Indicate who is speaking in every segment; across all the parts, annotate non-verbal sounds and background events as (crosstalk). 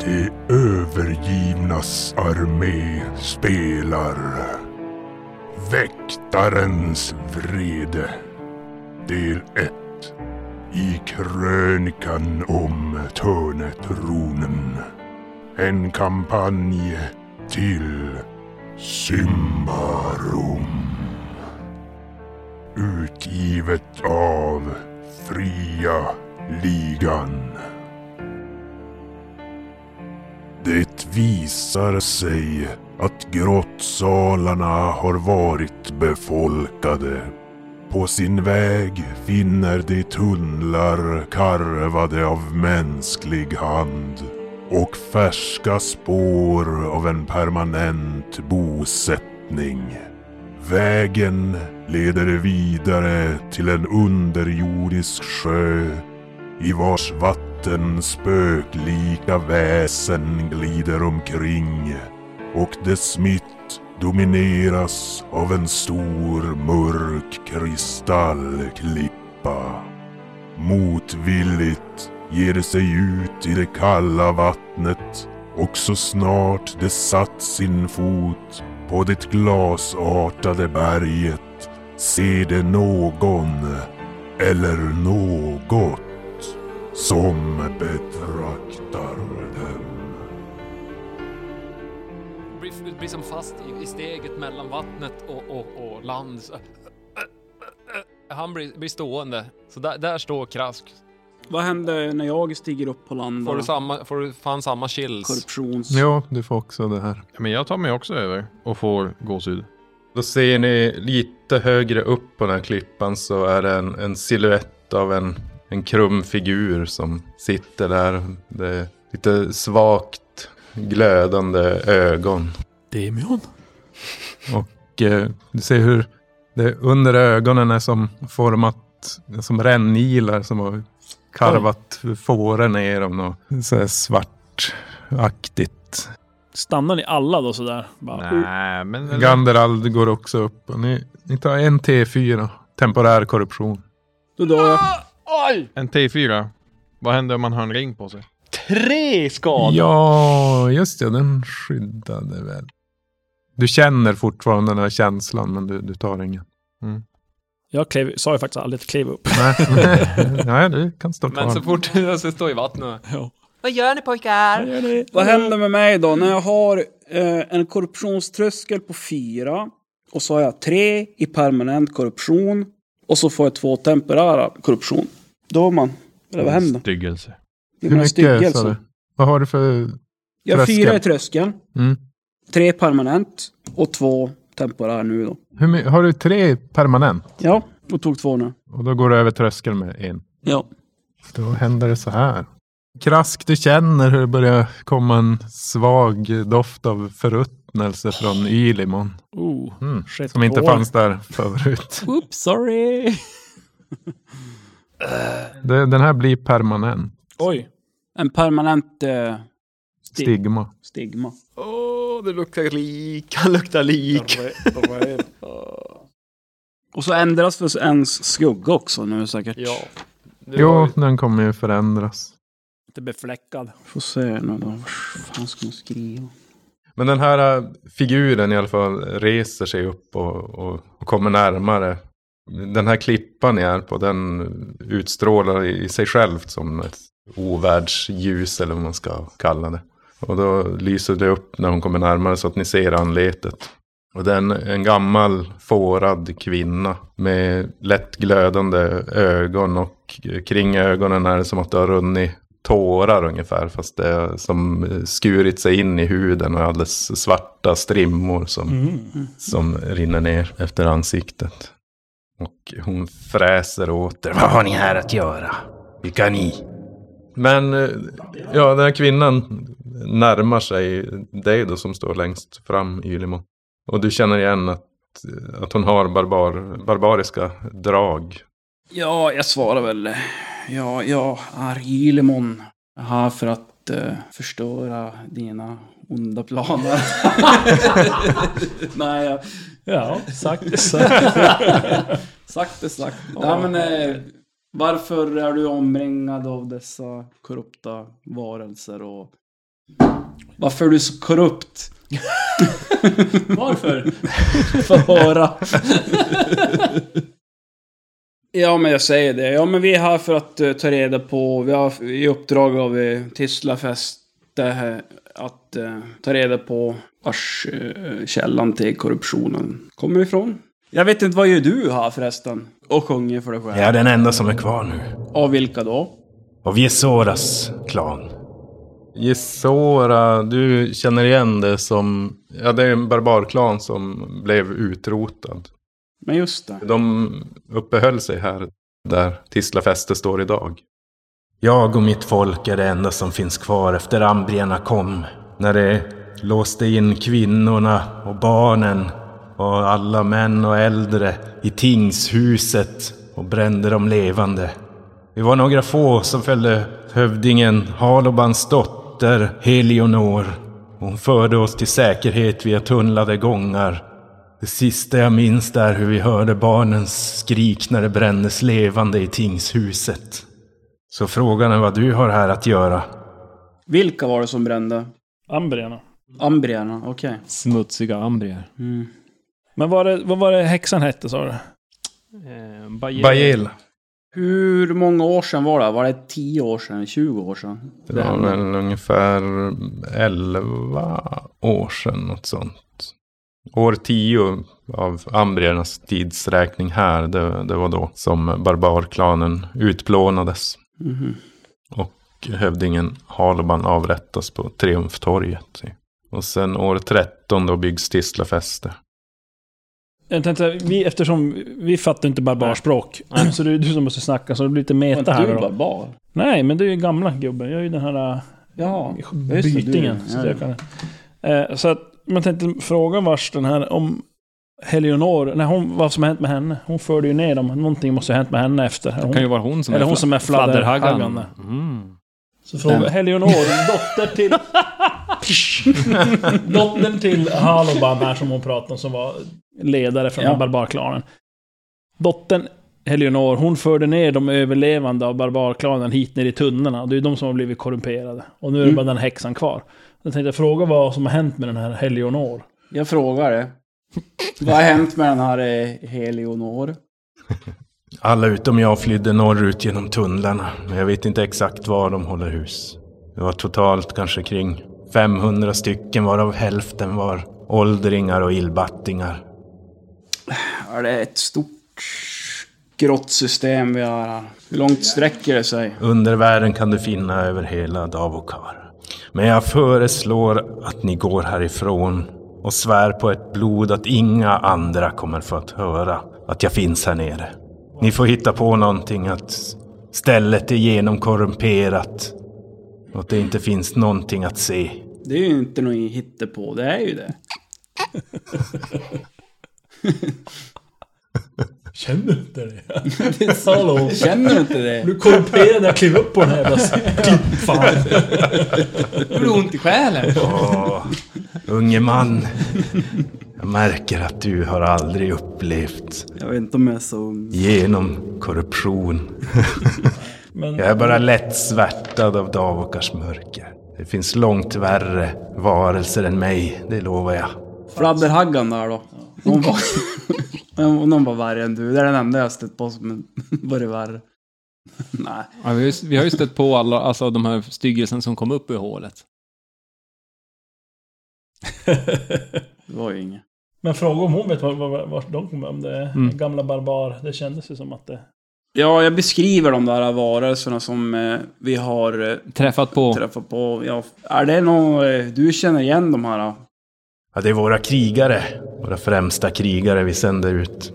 Speaker 1: De övergivnas armé spelar Väktarens vrede Del 1 I krönikan om Törnetronen En kampanj till Symbarum Utgivet av Fria Ligan det visar sig att grottsalarna har varit befolkade. På sin väg finner de tunnlar karvade av mänsklig hand och färska spår av en permanent bosättning. Vägen leder vidare till en underjordisk sjö i vars vatten spöklika väsen glider omkring och dess mitt domineras av en stor mörk kristallklippa. Motvilligt ger det sig ut i det kalla vattnet och så snart det satt sin fot på det glasartade berget ser det någon eller något som betraktar dem.
Speaker 2: Blir, blir som fast i, i steget mellan vattnet och, och, och land. Så- Han blir, blir stående. Så där, där står Krask.
Speaker 3: Vad händer när jag stiger upp på land?
Speaker 2: Får
Speaker 3: bara?
Speaker 2: du, samma, får du fan samma chills?
Speaker 3: Korruptions...
Speaker 4: Ja, du får också det här.
Speaker 5: Men jag tar mig också över och får gåshud.
Speaker 4: Då ser ni lite högre upp på den här klippan så är det en, en silhuett av en, en krum figur som sitter där. Det är lite svagt glödande ögon.
Speaker 6: Demion?
Speaker 4: Och eh, du ser hur det under ögonen är som format, som rännilar som har karvat fåren i dem. Och så här svartaktigt.
Speaker 6: Stannar ni alla då sådär? Bara,
Speaker 5: Nej, men...
Speaker 4: Ganderald går också upp. Och ni, ni tar en T4, temporär korruption.
Speaker 3: Då dör jag.
Speaker 7: Oj!
Speaker 5: En T4. Vad händer om man har en ring på sig?
Speaker 7: Tre skador!
Speaker 4: Ja, just det. Den skyddade väl. Du känner fortfarande den här känslan, men du, du tar ingen.
Speaker 6: Jag klev, sa ju faktiskt aldrig att kliva upp.
Speaker 2: (laughs)
Speaker 4: Nej, Nej du kan stå kvar.
Speaker 2: Men så fort (laughs) jag ska stå i vattnet.
Speaker 6: Ja.
Speaker 8: Vad gör ni pojkar?
Speaker 3: Vad händer med mig då? När jag har eh, en korruptionströskel på fyra och så har jag tre i permanent korruption och så får jag två temporära korruption. Då är man... Eller vad händer?
Speaker 5: Styggelse.
Speaker 3: Blir
Speaker 4: Hur
Speaker 3: man en styggelse?
Speaker 4: mycket sa du? Vad har du för...
Speaker 3: alltså. Jag har fyra i
Speaker 4: Tröskel.
Speaker 3: tröskeln.
Speaker 4: Mm.
Speaker 3: Tre permanent och två temporära nu då.
Speaker 4: Hur, my- har du tre permanent?
Speaker 3: Ja, och tog två nu.
Speaker 4: Och då går du över tröskeln med en.
Speaker 3: Ja.
Speaker 4: Då händer det så här. Krask, du känner hur det börjar komma en svag doft av förruttnelse från Ylimon.
Speaker 6: Oh,
Speaker 4: Mm.
Speaker 6: shit.
Speaker 4: Som inte
Speaker 6: Åh.
Speaker 4: fanns där förut.
Speaker 6: Oops, sorry.
Speaker 4: Det, den här blir permanent.
Speaker 6: Oj.
Speaker 3: En permanent eh,
Speaker 4: Stigma.
Speaker 3: stigma.
Speaker 7: Åh, det luktar lik. Han luktar lik.
Speaker 3: (laughs) Och så ändras för ens skugga också nu säkert.
Speaker 7: Ja. Det
Speaker 4: Jo,
Speaker 7: var-
Speaker 4: den kommer ju förändras.
Speaker 6: Lite befläckad.
Speaker 3: Får se nu då. Vad fan ska man skriva?
Speaker 4: Men den här äh, figuren i alla fall reser sig upp och, och, och kommer närmare. Den här klippan ni är på, den utstrålar i i sig självt som ett ovärldsljus eller vad man ska kalla det. Och då lyser det upp när hon kommer närmare så att ni ser anletet. Och det är en, en gammal fårad kvinna med lätt glödande ögon och eh, kring ögonen är det som att det har runnit tårar ungefär, fast det är som skurit sig in i huden och alldeles svarta strimmor som, som rinner ner efter ansiktet. Och hon fräser åter. Vad har ni här att göra? Vilka ni? Men eh, ja, den här kvinnan närmar sig dig då som står längst fram i Ylimo. Och du känner igen att, att hon har barbar, barbariska drag.
Speaker 3: Ja, jag svarar väl. Ja, jag är Gilemon. Jag är Här för att eh, förstöra dina onda planer. (laughs) Nej, jag...
Speaker 6: Ja,
Speaker 3: (laughs)
Speaker 6: sagt.
Speaker 3: Sagt är sagt. Nej, men, eh, varför är du omringad av dessa korrupta varelser och Varför är du så korrupt? (laughs)
Speaker 8: Varför?
Speaker 3: För att höra. ja, men jag säger det. Ja, men vi är här för att eh, ta reda på... Vi har i uppdrag av uh, Tisla fäste här att eh, ta reda på vars eh, källan till korruptionen kommer ifrån. Jag vet inte, vad gör du här förresten? Och sjunger för dig själv.
Speaker 4: Jag är den enda som är kvar nu.
Speaker 3: Av vilka då?
Speaker 4: Av Jesoras klan.
Speaker 5: Jesora, du känner igen det som... Ja, det är en barbarklan som blev utrotad.
Speaker 3: Men just det.
Speaker 5: De uppehöll sig här, där Tisla fäste står idag.
Speaker 4: Jag och mitt folk är det enda som finns kvar efter ambrierna kom. När de låste in kvinnorna och barnen och alla män och äldre i tingshuset och brände dem levande. Vi var några få som följde hövdingen Halobans dotter Helionor. Hon förde oss till säkerhet via tunnlade gångar. Det sista jag minns är hur vi hörde barnens skrik när de brändes levande i tingshuset. Så frågan är vad du har här att göra.
Speaker 3: Vilka var det som brände?
Speaker 6: Ambrierna.
Speaker 3: Ambrierna, okej.
Speaker 8: Smutsiga ambrier.
Speaker 3: Mm.
Speaker 6: Men vad var det, vad var det häxan hette sa du?
Speaker 8: Eh,
Speaker 5: Bajel.
Speaker 3: Hur många år sedan var det? Var det 10 år sedan? 20 år sedan?
Speaker 5: Det var
Speaker 3: hände.
Speaker 5: väl ungefär 11 år sedan, något sånt. År 10 av ambriernas tidsräkning här, det, det var då som barbarklanen utplånades.
Speaker 3: Mhm.
Speaker 5: Och hövdingen Haloban avrättas på Triumftorget. Och sen år 13 då byggs Tisla fäste.
Speaker 6: Jag tänkte, vi, eftersom vi fattar inte barbarspråk, (laughs) så det är du som måste snacka, så det blir lite
Speaker 3: Var
Speaker 6: meta
Speaker 3: inte
Speaker 6: här
Speaker 3: du
Speaker 6: då.
Speaker 3: barbar?
Speaker 6: Nej, men du är ju gamla gubben. Jag är ju den här äh,
Speaker 3: Ja, just det, du-
Speaker 6: bytingen. Så, att
Speaker 3: ja.
Speaker 6: jag kan, eh, så att man tänkte fråga vars den här, om Helionor, nej, hon, vad som har hänt med henne. Hon förde ju ner dem. Någonting måste ha hänt med henne efter.
Speaker 8: Det
Speaker 6: Hon,
Speaker 8: kan ju vara hon som
Speaker 6: Eller hon som är fladderhaggan.
Speaker 8: Mm.
Speaker 3: så
Speaker 6: fråga, Helionor, dotter till... Dottern till Haloban här som hon pratade om, som var ledare från
Speaker 3: Ja.
Speaker 6: den här barbarklanen. Dottern Helionor, hon förde ner de överlevande av barbarklanen hit ner i tunnorna. Och Det är ju de som har blivit korrumperade. Och nu är det
Speaker 3: Mm.
Speaker 6: bara den häxan kvar. Jag tänkte fråga vad som har hänt med den här Helionor.
Speaker 3: Jag frågar det. Vad har hänt med den här eh, Helionor?
Speaker 4: Alla utom jag flydde norrut genom tunnlarna, men jag vet inte exakt var de håller hus. Det var totalt kanske kring 500 stycken, varav hälften var åldringar och illbattingar.
Speaker 3: Är det ett stort grått system vi har här? Hur långt sträcker det sig?
Speaker 4: Undervärlden kan du finna över hela Davokar. Men jag föreslår att ni går härifrån och svär på ett blod att inga andra kommer få att höra att jag finns här nere. Ni får hitta på någonting att stället är genomkorrumperat och att det inte finns någonting att se.
Speaker 3: Det är ju inte något hittepå, det är ju det.
Speaker 6: Känner du inte (laughs) det? Hallå?
Speaker 3: Känner du inte det?
Speaker 6: Du korrumperade när jag klev upp på den här jävla fan.
Speaker 3: Det blir ont i själen.
Speaker 4: Åh, unge man. Jag märker att du har aldrig upplevt
Speaker 3: Jag vet inte om jag är så...
Speaker 4: genom korruption.
Speaker 6: Men
Speaker 4: Jag är
Speaker 6: (laughs)
Speaker 4: bara lätt svärtad av Davokars mörker. Det finns långt värre varelser än mig, det lovar jag.
Speaker 3: Fladderhaggan där då. Någon var, (laughs) någon var värre än du. Det är den enda jag har stött på som (laughs) varit värre. Nej.
Speaker 8: Ja, vi, har ju, vi har ju stött på alla alltså, de här styggelsen som kom upp ur hålet.
Speaker 3: Det var ju inget.
Speaker 6: Men fråga om hon vet vart var, var vart de kommer, om det är
Speaker 8: Mm.
Speaker 6: gamla barbar. Det kändes ju som att det...
Speaker 3: Ja, jag beskriver de där varelserna som eh, vi har eh,
Speaker 8: Träffat på...
Speaker 3: träffat på. Ja, är det någon... Eh, du känner igen de här? eh? då?
Speaker 4: Ja, det är våra krigare, våra främsta krigare vi sänder ut.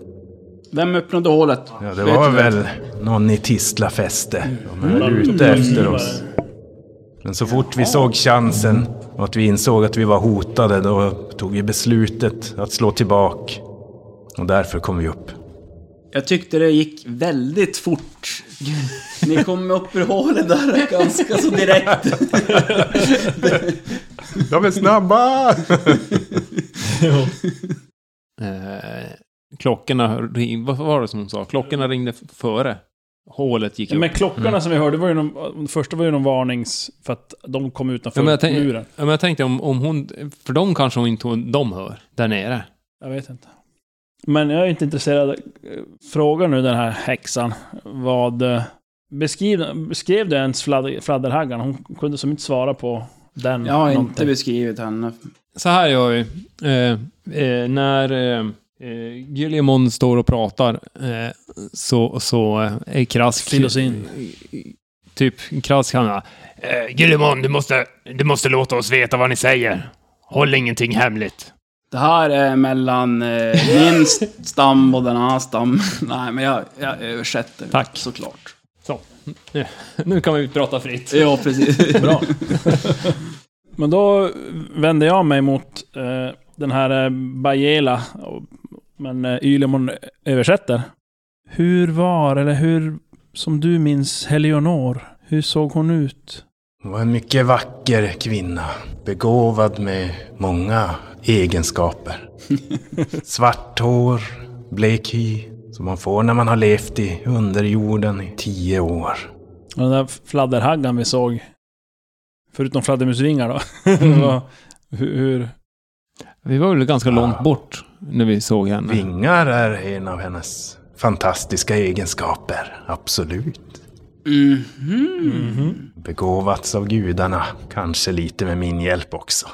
Speaker 3: Vem öppnade hålet?
Speaker 4: Ja, det
Speaker 3: Vet
Speaker 4: var
Speaker 3: du
Speaker 4: väl någon i Tisla fäste. De är ute
Speaker 3: Mm.
Speaker 4: efter oss. Men så fort vi såg chansen och att vi insåg att vi var hotade, då tog vi beslutet att slå tillbaka. Och därför kom vi upp.
Speaker 3: Jag tyckte det gick väldigt
Speaker 4: (laughs)
Speaker 3: fort. Ni kom upp ur hålet där ganska så direkt.
Speaker 5: De är snabba!
Speaker 8: Eh, klockorna... ring- Vad var det som hon sa? Klockorna ringde f- före. hålet gick upp.
Speaker 6: Men klockorna
Speaker 4: Mm.
Speaker 6: som vi hörde var ju någon, den första var ju någon varnings för att de kom utanför
Speaker 8: Ja, men jag tänk-
Speaker 6: muren.
Speaker 8: Ja, men jag tänkte om, om hon... För de kanske hon inte de hör, där nere.
Speaker 6: Jag vet inte. Men jag är inte intresserad. eh, Fråga nu den här häxan. Vad... eh, Beskriv, beskrev du ens fladder, fladderhaggan? Hon kunde som inte svara på den.
Speaker 3: Jag har inte
Speaker 6: någonting.
Speaker 3: beskrivit henne.
Speaker 8: Så här gör vi. Eh, eh, när eh, eh, Guillemon står och pratar eh, så, så eh, är Krask...
Speaker 6: Fill oss in.
Speaker 8: Typ, Krask han bara, eh, Guillemon, du måste, du måste låta oss veta vad ni säger. Håll ingenting hemligt.
Speaker 3: Det här är mellan eh, min st- stam och den andra stam. (laughs) Nej, men jag, jag översätter
Speaker 8: Tack.
Speaker 3: såklart.
Speaker 8: (laughs) Nu kan vi prata fritt.
Speaker 3: Ja, precis.
Speaker 6: Bra. (laughs) Men då vände jag mig mot eh, den här eh, Bajela. och- Men eh, Ylemon översätter. Hur var, eller hur, som du minns, Helionor? Hur såg hon ut?
Speaker 9: Hon var en mycket vacker kvinna. Begåvad med många egenskaper. Svart hår, blek hy. Som man får när man har levt i underjorden i tio år.
Speaker 6: Och den där fladderhaggan vi såg. Förutom fladdermusvingar då. (laughs) Det var- hur, hur...
Speaker 8: Vi var väl ganska långt bort när Ah. vi såg henne.
Speaker 9: Vingar är en av hennes fantastiska egenskaper. Absolut. Mm-hmm. Begåvats av gudarna. Kanske lite med min hjälp också.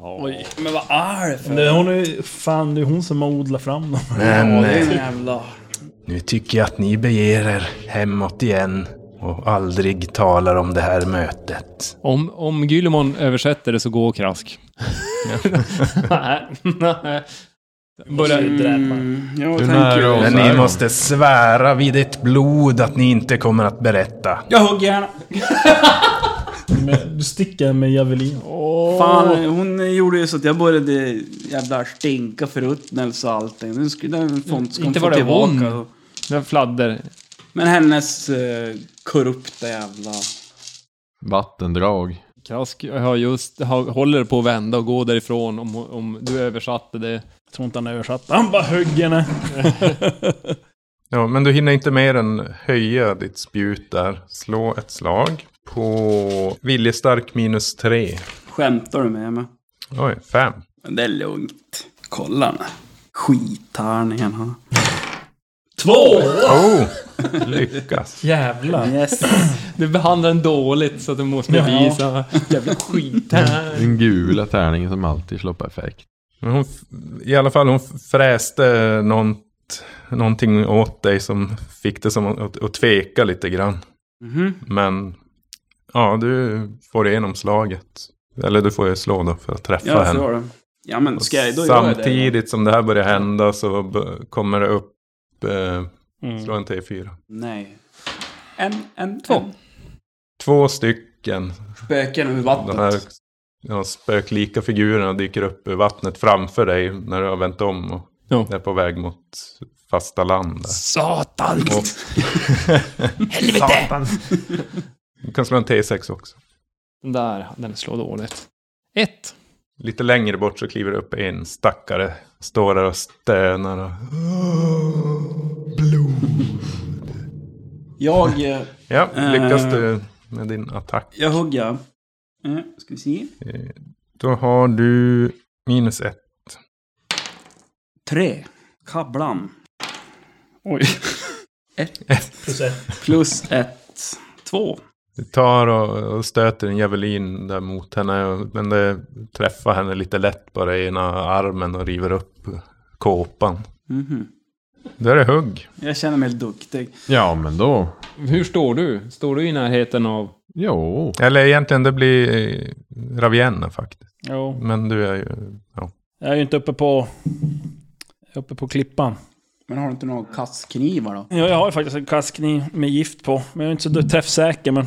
Speaker 6: Oj, men vad är det för... Hon är, ju- fan, det är hon som har odlat fram (laughs) dem.
Speaker 9: Men eh,
Speaker 3: Jävla.
Speaker 9: nu tycker jag att ni beger er hemåt igen. Och aldrig talar om det här mötet.
Speaker 8: Om, om Gyllemon översätter det så går Krask. (laughs) Nej, nej. Börjar-
Speaker 3: Mm, jag
Speaker 5: Du
Speaker 3: tänker
Speaker 5: nära
Speaker 3: det.
Speaker 5: oss.
Speaker 9: Men
Speaker 5: så är
Speaker 9: ni
Speaker 5: det.
Speaker 9: måste svära vid ert blod att ni inte kommer att berätta.
Speaker 3: Jag hugger gärna.
Speaker 6: Du sticker med javelin.
Speaker 3: Fan, hon gjorde ju så att jag började jävla stinka förruttnelse och allting. Nu skulle den font
Speaker 8: Inte
Speaker 3: kom få
Speaker 8: var det
Speaker 3: tillbaka.
Speaker 8: hon. Den fladder.
Speaker 3: Men hennes eh, korrupta jävla...
Speaker 5: (laughs) Vattendrag.
Speaker 8: Krask har just, har, håller på att vända och gå därifrån om, om du översatte det.
Speaker 6: Jag tror inte han översatte. Han bara högg henne.
Speaker 4: Ja, men du hinner inte mer än höja ditt spjut där. Slå ett slag på viljestark minus tre.
Speaker 3: Skämtar du med mig?
Speaker 4: Oj, fem.
Speaker 3: Men det är lugnt. Kolla nu. Skittärningen här. Två!
Speaker 4: Oh, lyckas.
Speaker 6: Jävlar.
Speaker 3: Yes.
Speaker 8: Du behandlar den dåligt så att du måste
Speaker 6: Ja.
Speaker 8: bevisa. Jävla skit här.
Speaker 5: Den gula tärningen som alltid slår perfekt.
Speaker 4: Men hon, f- I alla fall, hon f- fräste nånt, någonting åt dig som fick det som att, att tveka lite grann.
Speaker 3: Mhm.
Speaker 4: Men ja, du får igenom slaget. Eller du får ju slå då för att träffa
Speaker 3: Ja, så
Speaker 4: henne.
Speaker 3: var det. Ja men
Speaker 4: Och
Speaker 3: ska jag, då gör jag det.
Speaker 4: Samtidigt som det här börjar hända så b- kommer det upp... Eh, slå
Speaker 6: Mm.
Speaker 4: en T4.
Speaker 3: Nej. En, en, två.
Speaker 4: Två stycken.
Speaker 3: Spöken ur
Speaker 4: De här
Speaker 3: vattnet.
Speaker 4: ja, spöklika figurerna dyker upp ur vattnet framför dig när du har vänt om och
Speaker 8: Ja.
Speaker 4: är på väg mot fasta land. Där.
Speaker 8: Satan!
Speaker 4: Och... Helvete! Du kan slå en T6 också.
Speaker 8: Den där, den slår dåligt. Ett.
Speaker 4: Lite längre bort så kliver det upp en stackare. Står där och stönar och...
Speaker 3: Jag, eh,
Speaker 4: Ja,
Speaker 3: Eh.
Speaker 4: lyckas du med din attack.
Speaker 3: jag hugger. Eh, ska vi se.
Speaker 4: Eh, Då har du minus ett.
Speaker 3: Tre. Kablan. Oj. Ett.
Speaker 6: Plus ett.
Speaker 3: Plus ett. Två.
Speaker 4: Du tar och, och stöter en javelin där mot henne. och- Men det träffar henne lite lätt bara i ena armen och river upp kåpan.
Speaker 3: Mhm.
Speaker 4: Då är det hugg.
Speaker 3: Jag känner mig duktig.
Speaker 5: Ja, men då.
Speaker 8: Hur står du? Står du i närheten av...
Speaker 5: Jo.
Speaker 4: Eller egentligen det blir eh, Ravienna faktiskt.
Speaker 6: Jo.
Speaker 4: Men du är ju... Ja.
Speaker 6: Jag är ju inte uppe på... Jag är uppe på klippan.
Speaker 3: Men har du inte några kastknivar då?
Speaker 6: Ja, jag har ju faktiskt en kastkniv med gift på. Men jag är inte så träffsäker. Men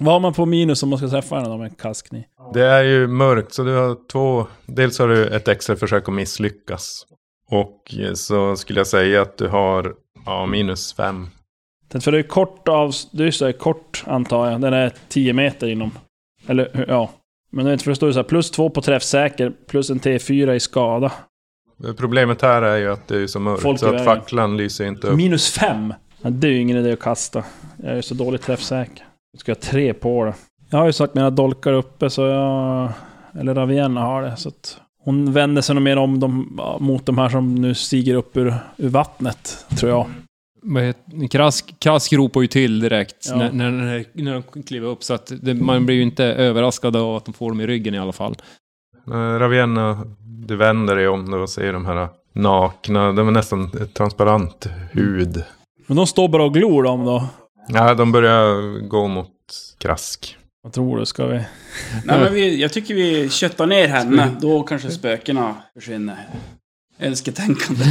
Speaker 6: vad har man på minus om man ska träffa henne då med en kastkniv?
Speaker 4: Det är ju mörkt så du har två... Dels har du ett extra försök att misslyckas. Och eh, så skulle jag säga att du har ja, minus fem.
Speaker 6: Det- För det är kort av... Det är ju så här kort antar jag. Den är 10 meter inom. Eller ja. Men det är inte för det står ju så här plus två på träffsäker. Plus en T4 i skada.
Speaker 4: Problemet här är ju att det är så mörkt
Speaker 6: Folk i
Speaker 4: så att
Speaker 6: vägen.
Speaker 4: facklan lyser inte upp.
Speaker 6: Minus fem! Ja, det är ju ingen idé att kasta. Jag är ju så dåligt träffsäker. Jag ska ha tre på det. Jag har ju sagt mina dolkar uppe så jag... Eller Ravienna har det. Så att hon vänder sig nog mer om dem, mot de här som nu stiger upp ur, ur vattnet, tror jag.
Speaker 8: Vad heter, krask, krask ropar ju till direkt
Speaker 6: Ja.
Speaker 8: när, när, när, när de kliver upp. Så att det, man blir ju inte överraskad av att de får dem i ryggen i alla fall.
Speaker 4: Eh, Ravienna, du vänder dig om då och ser de här nakna, de är nästan transparent hud.
Speaker 6: Men de står bara och glor dem då.
Speaker 4: Ja, de börjar gå mot krask.
Speaker 6: Vad tror du? Ska vi...
Speaker 3: Nej, men vi, jag tycker vi köttar ner henne. Då kanske spökena försvinner. Önsketänkande.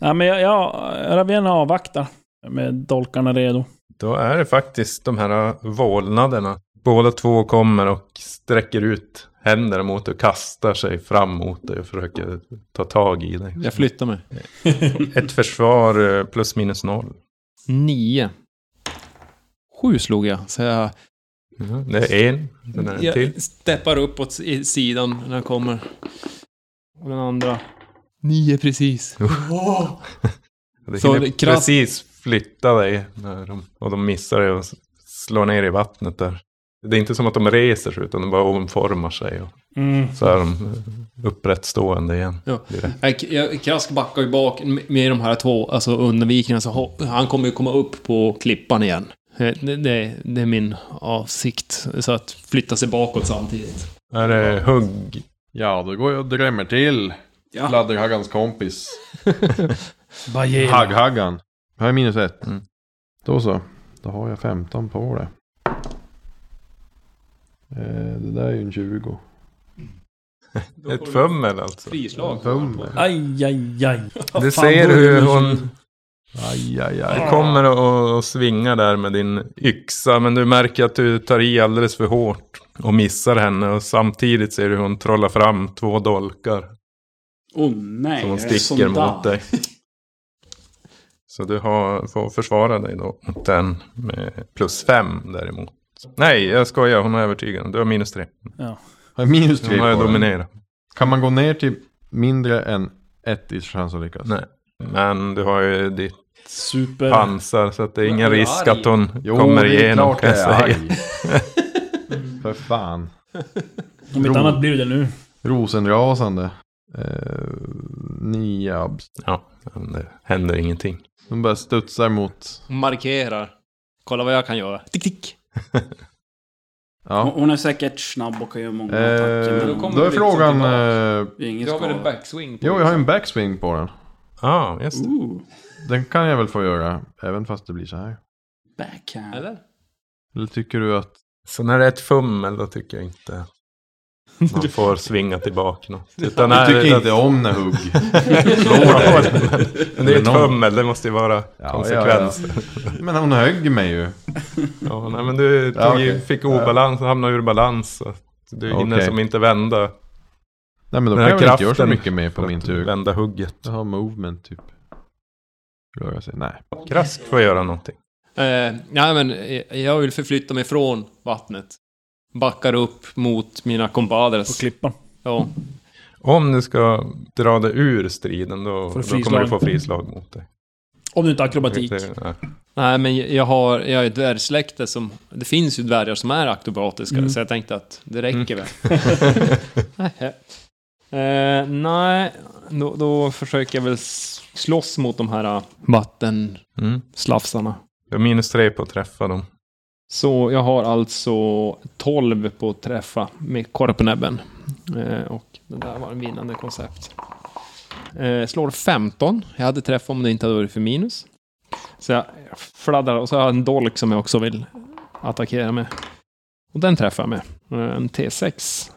Speaker 6: Nej, men jag, jag, Ravienna avvaktar. Med dolkarna redo.
Speaker 4: Då är det faktiskt de här vålnaderna. Båda två kommer och sträcker ut händerna mot dig och kastar sig fram mot dig och försöker ta tag i dig.
Speaker 8: Jag flyttar mig.
Speaker 4: Ett försvar eh, plus minus noll.
Speaker 8: Nio. Sju slog jag, så jag,
Speaker 4: Mhm, Det är en, den är en till.
Speaker 8: jag steppar upp åt si- sidan när jag kommer. Och den andra. Nio precis.
Speaker 4: (laughs) Det
Speaker 8: Så
Speaker 4: hinner
Speaker 8: det- krass-
Speaker 4: precis flytta dig när de, och de missar dig och s- slår ner i vattnet där. Det är inte som att de reser sig utan de bara omformar sig och så är de eh, upprätt stående igen.
Speaker 8: Mm. Ja.
Speaker 4: Direkt.
Speaker 8: Jag- jag- Krask backar ju bak med de här två, alltså undvikningarna, så hopp, han kommer ju komma upp på klippan igen. Eh, Det, det, det är min avsikt, så att flytta sig bakåt samtidigt.
Speaker 4: Är det hugg?
Speaker 5: Ja, då går jag och drämmer till.
Speaker 3: Ja. (laughs)
Speaker 5: Fladderhaggans kompis. Hagghaggan. Jag har minus ett.
Speaker 4: Mm.
Speaker 5: Då så. Då har jag 15 på det. Eh, det där är ju en 20.
Speaker 4: Ett fummel alltså.
Speaker 8: Frislag.
Speaker 5: Fummel.
Speaker 6: Aj, aj, aj.
Speaker 4: Du
Speaker 6: Fan,
Speaker 4: ser
Speaker 6: då är det
Speaker 4: hur
Speaker 6: ju-
Speaker 4: hon
Speaker 5: Aj, aj,
Speaker 4: Du
Speaker 5: aj.
Speaker 4: kommer och, och svingar där med din yxa, men du märker att du tar i alldeles för hårt och missar henne. Och samtidigt ser du hur hon trollar fram två dolkar
Speaker 3: Åh oh, nej.
Speaker 4: som hon
Speaker 3: jag är
Speaker 4: sticker
Speaker 3: sån
Speaker 4: mot
Speaker 3: där.
Speaker 4: (laughs) dig. Så du har, får försvara dig då mot den med plus fem däremot. Nej, jag skojar. Hon är övertygande. Du har minus tre.
Speaker 5: Har jag minus tre
Speaker 4: Hon har ju
Speaker 5: på det?
Speaker 4: dominerat.
Speaker 5: Kan man gå ner till mindre än ett i chans att lyckas?
Speaker 4: Nej. Men du har ju ditt
Speaker 6: Super...
Speaker 4: pansar så att det är ingen
Speaker 2: Men du är
Speaker 4: risk
Speaker 2: arg.
Speaker 4: att hon
Speaker 5: Jo,
Speaker 4: kommer
Speaker 5: det är
Speaker 4: igenom
Speaker 5: klart
Speaker 4: kan jag
Speaker 5: jag är
Speaker 4: säga.
Speaker 5: arg. (laughs) För fan.
Speaker 6: Om inte annat blir det nu.
Speaker 5: Rosenrasande. Eh, nio abs.
Speaker 4: Men det händer ingenting.
Speaker 5: De bara studsar mot...
Speaker 8: Markerar. Kolla vad jag kan göra. Tick, tick.
Speaker 5: Ja.
Speaker 3: Hon- Hon är säkert snabb och kan göra många attacker.
Speaker 5: Eh,
Speaker 3: men
Speaker 2: då kommer
Speaker 5: då
Speaker 2: vi
Speaker 5: är
Speaker 2: lite
Speaker 5: frågan...
Speaker 2: tillbaka.
Speaker 5: Eh,
Speaker 3: det är ingen
Speaker 2: Du har väl en
Speaker 3: skada.
Speaker 2: backswing på
Speaker 5: jo,
Speaker 2: dig?
Speaker 5: jag har ju en backswing på den.
Speaker 4: Ja, ah, just det.
Speaker 3: Ooh,
Speaker 5: Den kan jag väl få göra, även fast det blir så här.
Speaker 3: backhand.
Speaker 2: Eller?
Speaker 5: Eller tycker du att...
Speaker 4: Så när det är ett fummel då tycker jag inte (laughs) att man får svinga tillbaka något. Utan när,
Speaker 5: du tycker inte
Speaker 4: att-
Speaker 5: om
Speaker 4: (laughs)
Speaker 5: när hugg
Speaker 4: Ja,
Speaker 5: slår dig.
Speaker 4: men- Men det är ett
Speaker 5: Men någon-
Speaker 4: fummel, det måste ju vara
Speaker 5: ja,
Speaker 4: konsekvenser. Ja, (laughs)
Speaker 5: Men hon högg mig ju.
Speaker 4: nej, men du tog,
Speaker 5: Ja,
Speaker 4: ju-
Speaker 5: okej.
Speaker 4: fick obalans och hamnade ur balans. Så att du hinner
Speaker 5: Okej.
Speaker 4: som inte vända,
Speaker 5: Nej men då
Speaker 4: Den
Speaker 5: kan
Speaker 4: här
Speaker 5: jag väl inte göra så
Speaker 4: kraften
Speaker 5: mycket mer på
Speaker 4: för
Speaker 5: min
Speaker 4: att
Speaker 5: tur.
Speaker 4: vända hugget.
Speaker 5: Jag har movement typ. Röra sig? Nej.
Speaker 4: Krask får göra någonting.
Speaker 8: Eh, nej, men eh, jag vill förflytta mig från vattnet. Backar upp mot mina
Speaker 6: På
Speaker 8: kompadres.
Speaker 6: klippan.
Speaker 8: Ja.
Speaker 4: Om du ska dra dig ur striden då,
Speaker 6: Får du
Speaker 4: då kommer du
Speaker 6: frislag?
Speaker 4: få frislag mot dig.
Speaker 6: Om du inte har akrobatik.
Speaker 4: Det- ja. (laughs)
Speaker 8: Nej, men jag har, jag är ett dvärgsläkte som... Det finns ju dvärgar som är akrobatiska,
Speaker 6: Mm.
Speaker 8: så jag tänkte att det räcker väl. eh, nej, då, då försöker jag väl s- slåss mot de här ah, vattenslafsarna.
Speaker 4: Mm. Du har minus tre på att träffa dem.
Speaker 8: Så jag har alltså 12 på att träffa med korpnäbben. Eh, och det där var en vinnande koncept. Eh, slår 15. Jag hade träff om det inte hade varit för minus. Så jag jag fladdrar och så har jag en dolk som jag också vill attackera med. Och den träffar jag med. Eh, En T6.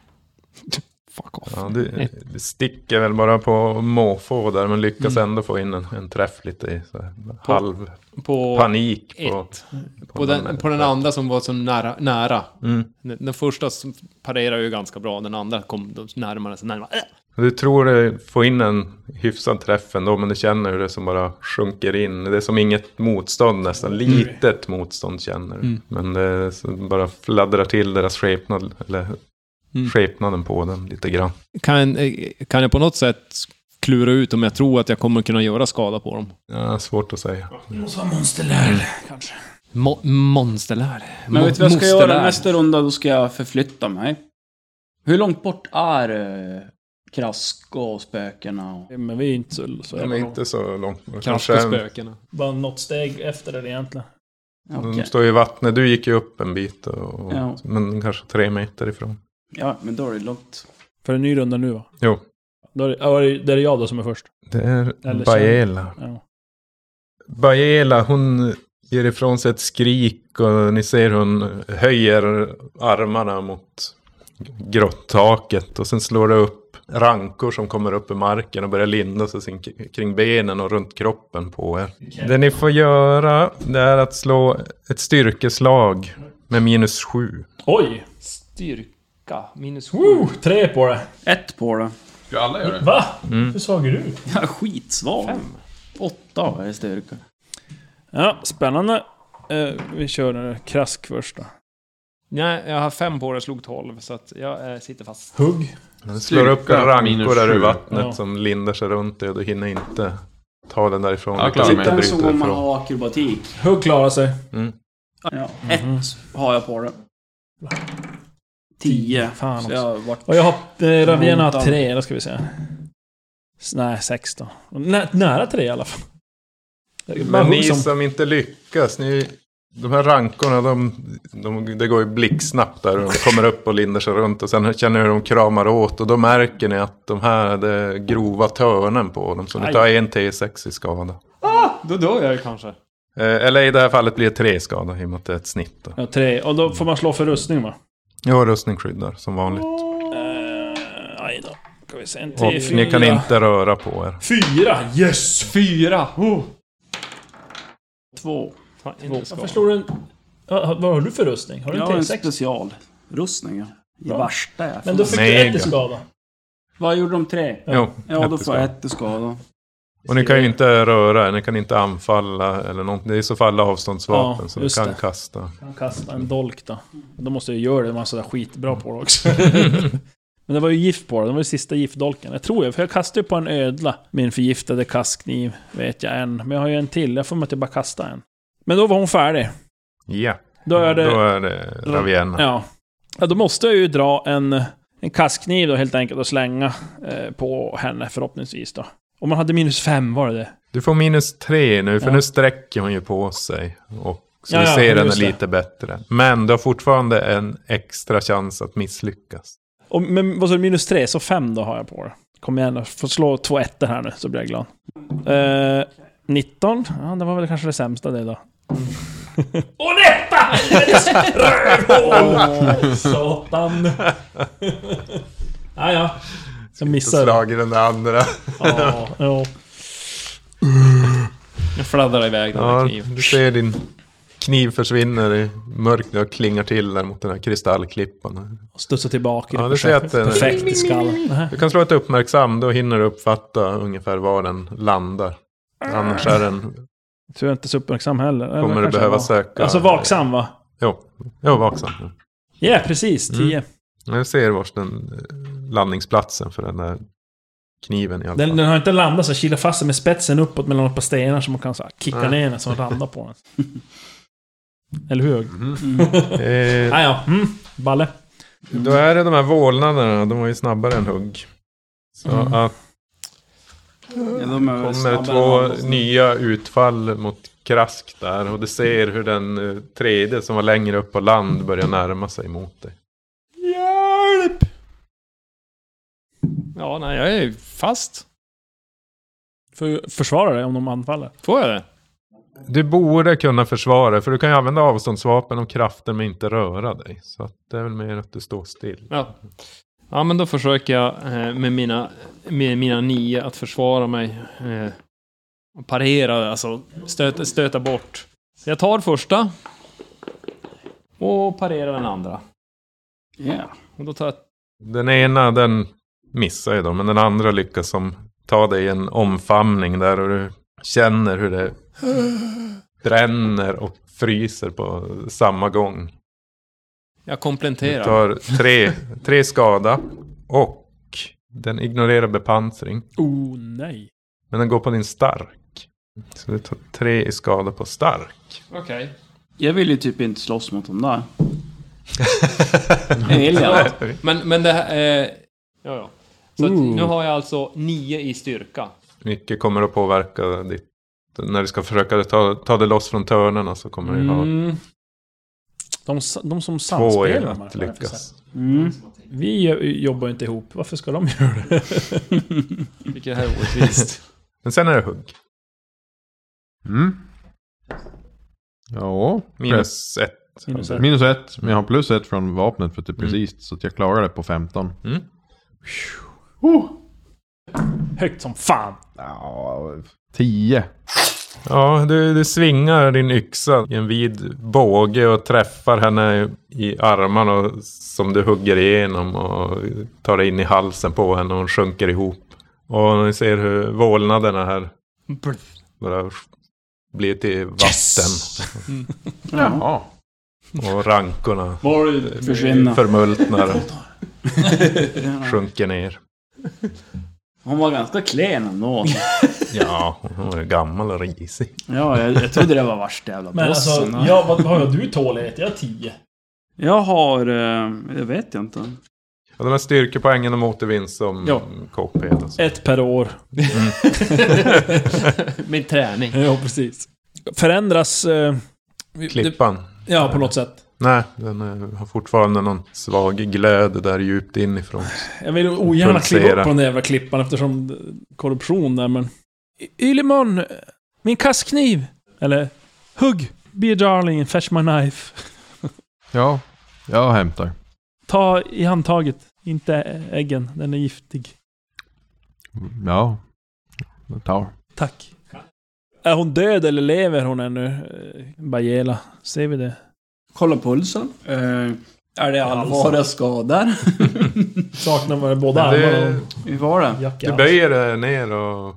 Speaker 8: (laughs) Fuck off.
Speaker 4: Ja, du,
Speaker 8: Ett.
Speaker 4: du sticker väl bara på måfå där men lyckas
Speaker 8: Mm.
Speaker 4: ändå få in en, en träff lite i så här,
Speaker 8: På-
Speaker 4: halv
Speaker 8: På,
Speaker 4: panik. På,
Speaker 8: ett. på, den, på den andra som var så nära. nära.
Speaker 4: Mm.
Speaker 8: Den, den första som parerar ju ganska bra. Den andra kom då närmare sig närmare.
Speaker 4: Du tror du får in en hyfsad träff ändå men du känner hur det som bara sjunker in. Det är som inget motstånd nästan. Litet motstånd känner du.
Speaker 8: Mm.
Speaker 4: Men det så bara fladdrar till deras skepnad, eller
Speaker 8: Mm.
Speaker 4: skepnaden på den lite grann.
Speaker 8: Kan, eh, kan jag på något sätt klura ut om jag tror att jag kommer kunna göra skada på dem.
Speaker 4: Ja, svårt att säga.
Speaker 3: Så monsterlär, kanske.
Speaker 8: Mo- monsterlär.
Speaker 3: Men
Speaker 8: Mo-
Speaker 3: vet du vad jag ska
Speaker 8: mosterlär.
Speaker 3: göra nästa runda? Då ska jag förflytta mig. Hur långt bort är eh, Krask och spökena? Och...
Speaker 6: Men vi är inte så, så
Speaker 4: De
Speaker 6: jävla
Speaker 4: är
Speaker 6: långt.
Speaker 4: inte så långt. bort.
Speaker 8: Kanske
Speaker 4: Kanske-
Speaker 8: spökena.
Speaker 6: Bara något steg efter det egentligen.
Speaker 3: Okej.
Speaker 4: De står ju i vattnet. Du gick ju upp en bit. Och,
Speaker 3: Ja.
Speaker 4: Men kanske tre meter ifrån.
Speaker 3: Ja, men då är det långt.
Speaker 6: För en ny runda nu va?
Speaker 4: Jo.
Speaker 6: Då är det, ja, det är jag då som är först.
Speaker 4: Det är
Speaker 6: Eller
Speaker 4: Baela.
Speaker 6: Ja.
Speaker 4: Baela, hon ger ifrån sig ett skrik och ni ser hon höjer armarna mot grottaket och sen slår det upp rankor som kommer upp i marken och börjar linda sig sin- kring benen och runt kroppen på er. Det ni får göra det är att slå ett styrkeslag med minus sju.
Speaker 6: Oj!
Speaker 8: Styrka minus
Speaker 6: Woo, tre på det.
Speaker 3: Ett på det.
Speaker 5: Ska alla göra det?
Speaker 6: Va?
Speaker 4: Mm.
Speaker 6: Hur svag är du?
Speaker 3: Jag är skitsvag. Åtta är styrka.
Speaker 6: Ja, spännande. Eh, vi kör den där krask först då.
Speaker 8: Nej, jag har fem på det, slog tolv, så att jag eh, sitter fast.
Speaker 6: Hugg.
Speaker 4: Den slår upp en
Speaker 5: Styrka
Speaker 4: rankor
Speaker 5: minus
Speaker 4: där i
Speaker 5: sju.
Speaker 4: vattnet
Speaker 6: Ja.
Speaker 4: som lindar sig runt dig och du hinner inte ta den därifrån.
Speaker 5: Ja,
Speaker 4: Du
Speaker 5: klarar mig.
Speaker 4: sitter och
Speaker 3: Den
Speaker 4: bryter
Speaker 3: som om man
Speaker 4: ifrån.
Speaker 3: har akrobatik.
Speaker 6: Hugg klarar sig.
Speaker 3: Ja, ett har jag på det. Tio.
Speaker 6: Fan
Speaker 3: Så
Speaker 6: också.
Speaker 3: jag har varit...
Speaker 6: Och jag har eh, Ravena har
Speaker 3: Montan.
Speaker 6: tre, då ska vi se. S- Nej, sex då. Nä, nära tre i alla fall. Det är bara
Speaker 4: Men ni
Speaker 6: hugg
Speaker 4: som...
Speaker 6: som...
Speaker 4: inte lyckas, ni, de här rankorna, de, de, det går ju blixtsnabbt där och de kommer upp och lindar sig runt och sen känner ni hur de kramar åt och då märker ni att de här hade grova törnen på dem så ni tar en T6 i skada.
Speaker 8: Då dör jag ju kanske.
Speaker 4: Eh, Eller i det här fallet blir det tre skada i och med att det är ett snitt. Då.
Speaker 6: Ja, tre. Och då får man slå för rustning va?
Speaker 4: Ja, rustning skyddar som vanligt.
Speaker 6: Eh, aj då. Ska vi se. En
Speaker 4: Och
Speaker 6: till,
Speaker 4: ni kan
Speaker 6: fyra.
Speaker 4: inte röra på er.
Speaker 6: Fyra! Yes! Fyra! Oh.
Speaker 3: Två.
Speaker 8: Fan, inte
Speaker 6: Varför
Speaker 8: skada.
Speaker 6: slår du en... Ja, ha- vad har du för rustning? Har du
Speaker 3: Jag har
Speaker 6: en
Speaker 3: en
Speaker 6: T6?
Speaker 3: specialrustning. ja. Det värsta jag
Speaker 6: Men då
Speaker 3: får.
Speaker 6: fick du ett i
Speaker 4: Mega.
Speaker 6: skada.
Speaker 3: Vad gjorde de tre?
Speaker 4: Jo,
Speaker 3: Ja, då
Speaker 4: ett i
Speaker 3: får jag
Speaker 4: skada.
Speaker 3: ett i skada.
Speaker 4: Och ni kan ju inte röra er, ni kan inte anfalla eller någonting. Det är i så fall avståndsvapen
Speaker 6: Ja,
Speaker 4: så ni
Speaker 6: just
Speaker 4: kan
Speaker 6: det.
Speaker 4: kasta.
Speaker 6: Han kastar en Mm. dolk då. Då måste jag göra det, man sådär skitbra på det också. Men det var ju gift på det, det var ju sista giftdolken. Jag tror jag, för jag kastade ju på en ödla. Min förgiftade kastkniv, vet jag en. Men jag har ju en till, jag får mig att jag bara kasta en. Men då var hon färdig.
Speaker 4: Ja,
Speaker 6: Då är det...
Speaker 4: då är det Ravienna.
Speaker 6: Ja. ja. Då måste jag ju dra en, en kastkniv då helt enkelt och slänga eh, på henne förhoppningsvis då. Om man hade minus fem, var det det?
Speaker 4: Du får minus tre nu, för
Speaker 6: Ja.
Speaker 4: nu sträcker hon ju på sig. Och, så
Speaker 6: Ja,
Speaker 4: du
Speaker 6: ja,
Speaker 4: ser henne
Speaker 6: just det.
Speaker 4: lite bättre. Men du har fortfarande en extra chans att misslyckas.
Speaker 6: Och, men vad sa du, minus tre, så fem då har jag på det. Kom igen då, får slå två ettor här nu så blir jag glad. Eh, 19, ja det var väl kanske det sämsta det då. (laughs) Och en etta! Rövhål! Satan! (laughs) ja, ja. Jag missade. det.
Speaker 4: Slag i den där andra.
Speaker 6: Ja, ja.
Speaker 8: Jag fladdrar iväg den
Speaker 4: Ja,
Speaker 8: med kniv.
Speaker 4: du ser din kniv försvinner i mörkret och klingar till där mot den här kristallklippan.
Speaker 6: Och studsa tillbaka. i
Speaker 4: Ja,
Speaker 6: det
Speaker 4: du ser att
Speaker 6: perfekt-
Speaker 4: eh, den-
Speaker 6: Perfekt i skallen. Nähä.
Speaker 4: Du kan slå ett uppmärksam, då hinner du uppfatta ungefär var den landar. Annars är den,
Speaker 6: Så jag är inte så uppmärksam heller. Eller
Speaker 4: kommer du
Speaker 6: kanske
Speaker 4: behöva
Speaker 6: jag var.
Speaker 4: söka.
Speaker 6: Alltså vaksam va?
Speaker 4: Jo, jo vaksam.
Speaker 6: Ja, precis.
Speaker 4: Mm.
Speaker 6: 10.
Speaker 4: Ja, Du ser vars den eh, landningsplatsen för den där kniven i alla fall.
Speaker 6: Den, den har inte landat så jag kilar fast den med spetsen uppåt mellan ett par stenar som man kan så här, kicka
Speaker 4: Nej.
Speaker 6: ner den så den ramlar på den. (laughs) Eller hur?
Speaker 4: Eh,
Speaker 6: Ah, ja. mm. Balle.
Speaker 4: Då är det de här vålnaderna, de var ju snabbare än hugg. Så att
Speaker 3: Ja, de Mm. är snabbare
Speaker 4: kommer
Speaker 3: än alla.
Speaker 4: två nya utfall mot krask där. Och du ser hur den eh, tredje som var längre upp på land börjar närma sig mot dig.
Speaker 8: Hjälp! Ja, nej, jag är ju fast.
Speaker 6: För, försvara dig om de anfaller.
Speaker 8: Får jag det?
Speaker 4: Du borde kunna försvara för du kan ju använda avståndsvapen och kraften men inte röra dig. Så att det är väl mer att du står still.
Speaker 8: Ja. Ja, men då försöker jag eh, med mina, med mina nio att försvara mig. eh, Och parera, alltså stöta, stöta bort. Så jag tar första. Och parerar den andra.
Speaker 3: Ja.
Speaker 8: Och då tar jag...
Speaker 4: Den ena den missar ju då, men den andra lyckas som ta dig i en omfamning där och du känner hur det bränner och fryser på samma gång.
Speaker 8: Jag
Speaker 4: Du
Speaker 8: kompletterar.
Speaker 4: tar tre, tre skada och Den ignorerar bepansring.
Speaker 6: Oh nej.
Speaker 4: Men den går på din stark. Så du tar tre i skada på stark.
Speaker 8: Okej.
Speaker 3: Jag vill ju typ inte slåss mot dem där. jag vill jag.
Speaker 8: (laughs) Men, men det här... Eh, ja, ja. Så att
Speaker 6: Ooh.
Speaker 8: nu har jag alltså nio i styrka.
Speaker 4: (laughs) Mycket kommer att påverka ditt... När du ska försöka ta, ta det loss från törnarna så kommer du ha
Speaker 8: Mm.
Speaker 6: De, s- de
Speaker 4: två
Speaker 6: som
Speaker 4: i
Speaker 6: samspelar de här
Speaker 4: att
Speaker 6: kan jag
Speaker 4: lyckas.
Speaker 3: Mm.
Speaker 6: säga. Vi jo- jobbar ju inte ihop. Varför ska de (laughs) göra det?
Speaker 8: Vilket här är orättvist. (laughs)
Speaker 4: Men sen är det hugg.
Speaker 5: Mm. Ja, press.
Speaker 4: Minus ett.
Speaker 6: Minus ett.
Speaker 5: Minus ett, men jag har plus ett från vapnet för att det är precis. Så att jag klarar det på 15.
Speaker 4: Mm.
Speaker 6: Högt som fan.
Speaker 5: Ja, 10.
Speaker 4: Ja, du, du svingar din yxa i en vid båge och träffar henne i armarna och, som du hugger igenom och tar dig in i halsen på henne och hon sjunker ihop. Och ni ser hur vålnaderna här bara blir till vatten
Speaker 5: Jaha.
Speaker 4: och rankorna
Speaker 3: Borg försvinna.
Speaker 4: förmultnar och sjunker ner.
Speaker 3: Hon var ganska klen ändå.
Speaker 4: Ja, hon är gammal och risig.
Speaker 3: Ja, jag, jag trodde det var värsta jävla
Speaker 6: Men alltså,
Speaker 3: bossen.
Speaker 6: ja, vad har jag du tålighet? Jag har tio.
Speaker 3: Jag har... eh, Jag vet jag inte.
Speaker 4: Och de här styrkepoängen de återvinns som
Speaker 6: Ja. Eh,
Speaker 4: KP. Alltså.
Speaker 6: Ett per år. (laughs)
Speaker 8: Min träning.
Speaker 6: Ja, precis. Förändras... Eh, vi- det,
Speaker 4: Klippan.
Speaker 6: ja, på något sätt.
Speaker 4: Nej, den eh, har fortfarande någon svag glöd där djupt inifrån.
Speaker 6: Jag vill ogärna
Speaker 4: Pulsera.
Speaker 6: kliva upp på den där jävla klippan eftersom det- korruption där, men... Y- Ylimon! Min kastkniv! Eller... Hugg! Be a darling, fetch my knife.
Speaker 5: Ja, jag hämtar.
Speaker 6: Ta i handtaget, inte äggen. Den är giftig.
Speaker 5: Ja, jag tar.
Speaker 6: Tack. Är hon död eller lever hon ännu? Eh, Bajela, ser vi det?
Speaker 3: Kolla pulsen. Eh, är det allvarliga skador?
Speaker 6: Saknar man båda
Speaker 4: Du,
Speaker 3: Hur var det?
Speaker 4: du böjer dig ner och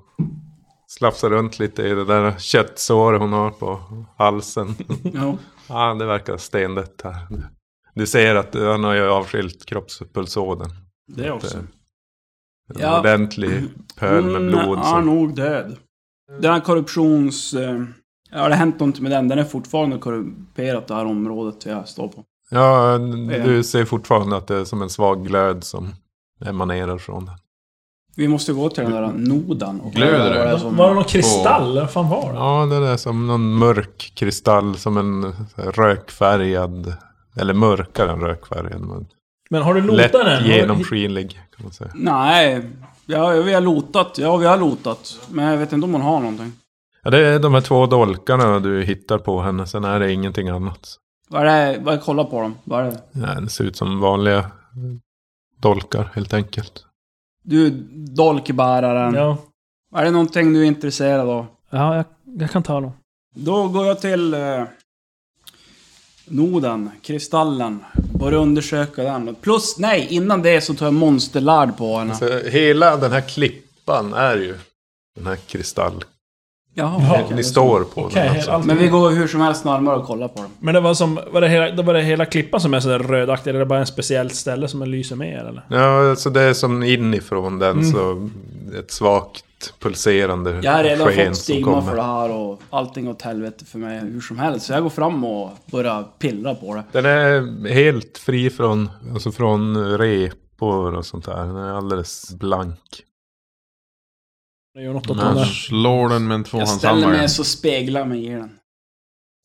Speaker 4: slafsar runt lite i det där köttsåret hon har på halsen.
Speaker 3: Ja.
Speaker 4: ah, det verkar stendött här. Du ser att han har ju avskilt kroppspulsådern.
Speaker 3: Det också.
Speaker 4: En
Speaker 3: Ja.
Speaker 4: ordentlig pöl med blod.
Speaker 3: Hon är
Speaker 4: Som,
Speaker 3: Mm, nog död. Den här korruptions... eh, Har det hänt något med den? Den är fortfarande korrumperat det här området jag står på.
Speaker 4: ja, du ser fortfarande att det är som en svag glöd som emanerar från den.
Speaker 3: Vi måste gå till den där
Speaker 4: Mm.
Speaker 3: nodan och
Speaker 5: Glöder
Speaker 3: kolla vad
Speaker 5: det?
Speaker 3: är
Speaker 6: Var det någon kristall?
Speaker 5: kristall?
Speaker 6: Vad fan var det?
Speaker 4: Ja, det är som någon mörk kristall, som en så här rökfärgad, eller mörkare än rökfärgad. Men
Speaker 6: Men har du
Speaker 4: lätt
Speaker 6: notat den?
Speaker 4: genomskinlig, kan man säga.
Speaker 3: Nej. Ja, vi har lotat. Ja, vi har lotat. Men jag vet inte om hon har någonting.
Speaker 4: Ja, det är de här två dolkarna du hittar på henne, sen är det ingenting annat.
Speaker 3: Vad är det? Vad kolla på dem. Vad är det?
Speaker 4: Nej, det ser ut som vanliga dolkar, helt enkelt.
Speaker 3: Du, dolkbäraren.
Speaker 6: Ja.
Speaker 3: Är det någonting du är intresserad av?
Speaker 6: Ja, jag, jag kan ta dem.
Speaker 3: Då går jag till eh, noden, kristallen. Börjar undersöka den. Plus, nej, innan det så tar jag monsterlärd på henne.
Speaker 4: Så hela den här klippan är ju den här kristall.
Speaker 3: Jaha.
Speaker 6: Ja.
Speaker 4: Ni står på
Speaker 6: Okej,
Speaker 4: den.
Speaker 6: helt-
Speaker 4: Alltså.
Speaker 6: allt-
Speaker 3: Men vi går hur som helst närmare och kollar på dem.
Speaker 6: Men det var som... Var det hela, då var det hela klippan som är sådär rödaktig? Eller är det bara en speciellt ställe som lyser mer eller?
Speaker 4: Ja, så det är som inifrån den så ett svagt pulserande
Speaker 3: Mm. Jag har redan
Speaker 4: sken
Speaker 3: fått
Speaker 4: som
Speaker 3: stigma
Speaker 4: kommer.
Speaker 3: för det här och allting åt helvete för mig hur som helst. Så jag går fram och börjar pillra på det.
Speaker 4: Den är helt fri från, alltså från repor och sånt där. Den är alldeles blank.
Speaker 6: Det gör något åt den
Speaker 5: Men
Speaker 6: där.
Speaker 5: slår den med en
Speaker 3: Jag ställer mig
Speaker 5: tvåhandshammare.
Speaker 3: så speglar jag mig i den.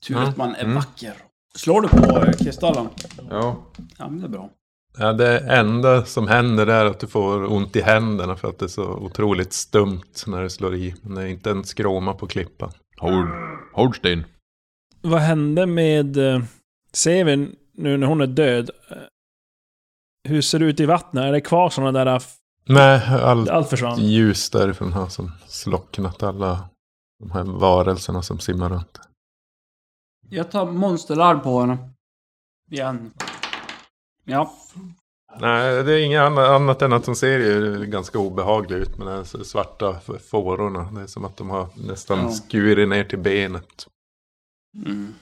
Speaker 3: Tur
Speaker 4: Mm.
Speaker 3: att man är
Speaker 5: Mm.
Speaker 3: vacker. Slår du på eh, kristallen?
Speaker 5: Ja.
Speaker 3: Ja, men det är bra.
Speaker 4: Ja, det enda som händer är att du får ont i händerna för att det är så otroligt stumt när du slår i. Men det är inte en skråma på klippan.
Speaker 5: Hård, hård sten.
Speaker 6: Vad hände med... eh, Ser vi nu när hon är död? eh, Hur ser det ut i vattnet? Är det kvar sådana där... eh, f-
Speaker 4: Nej, allt
Speaker 6: Allt försvann?
Speaker 4: ljus därifrån har som slocknat alla de här varelserna som simmar runt.
Speaker 3: Jag tar monsterlarm på henne. Igen. Ja.
Speaker 4: Nej, det är inget anna- annat än att de ser ju ganska obehagliga ut med de här svarta f- fårorna. Det är som att de har nästan
Speaker 3: Ja.
Speaker 4: skurit ner till benet.
Speaker 3: Mm.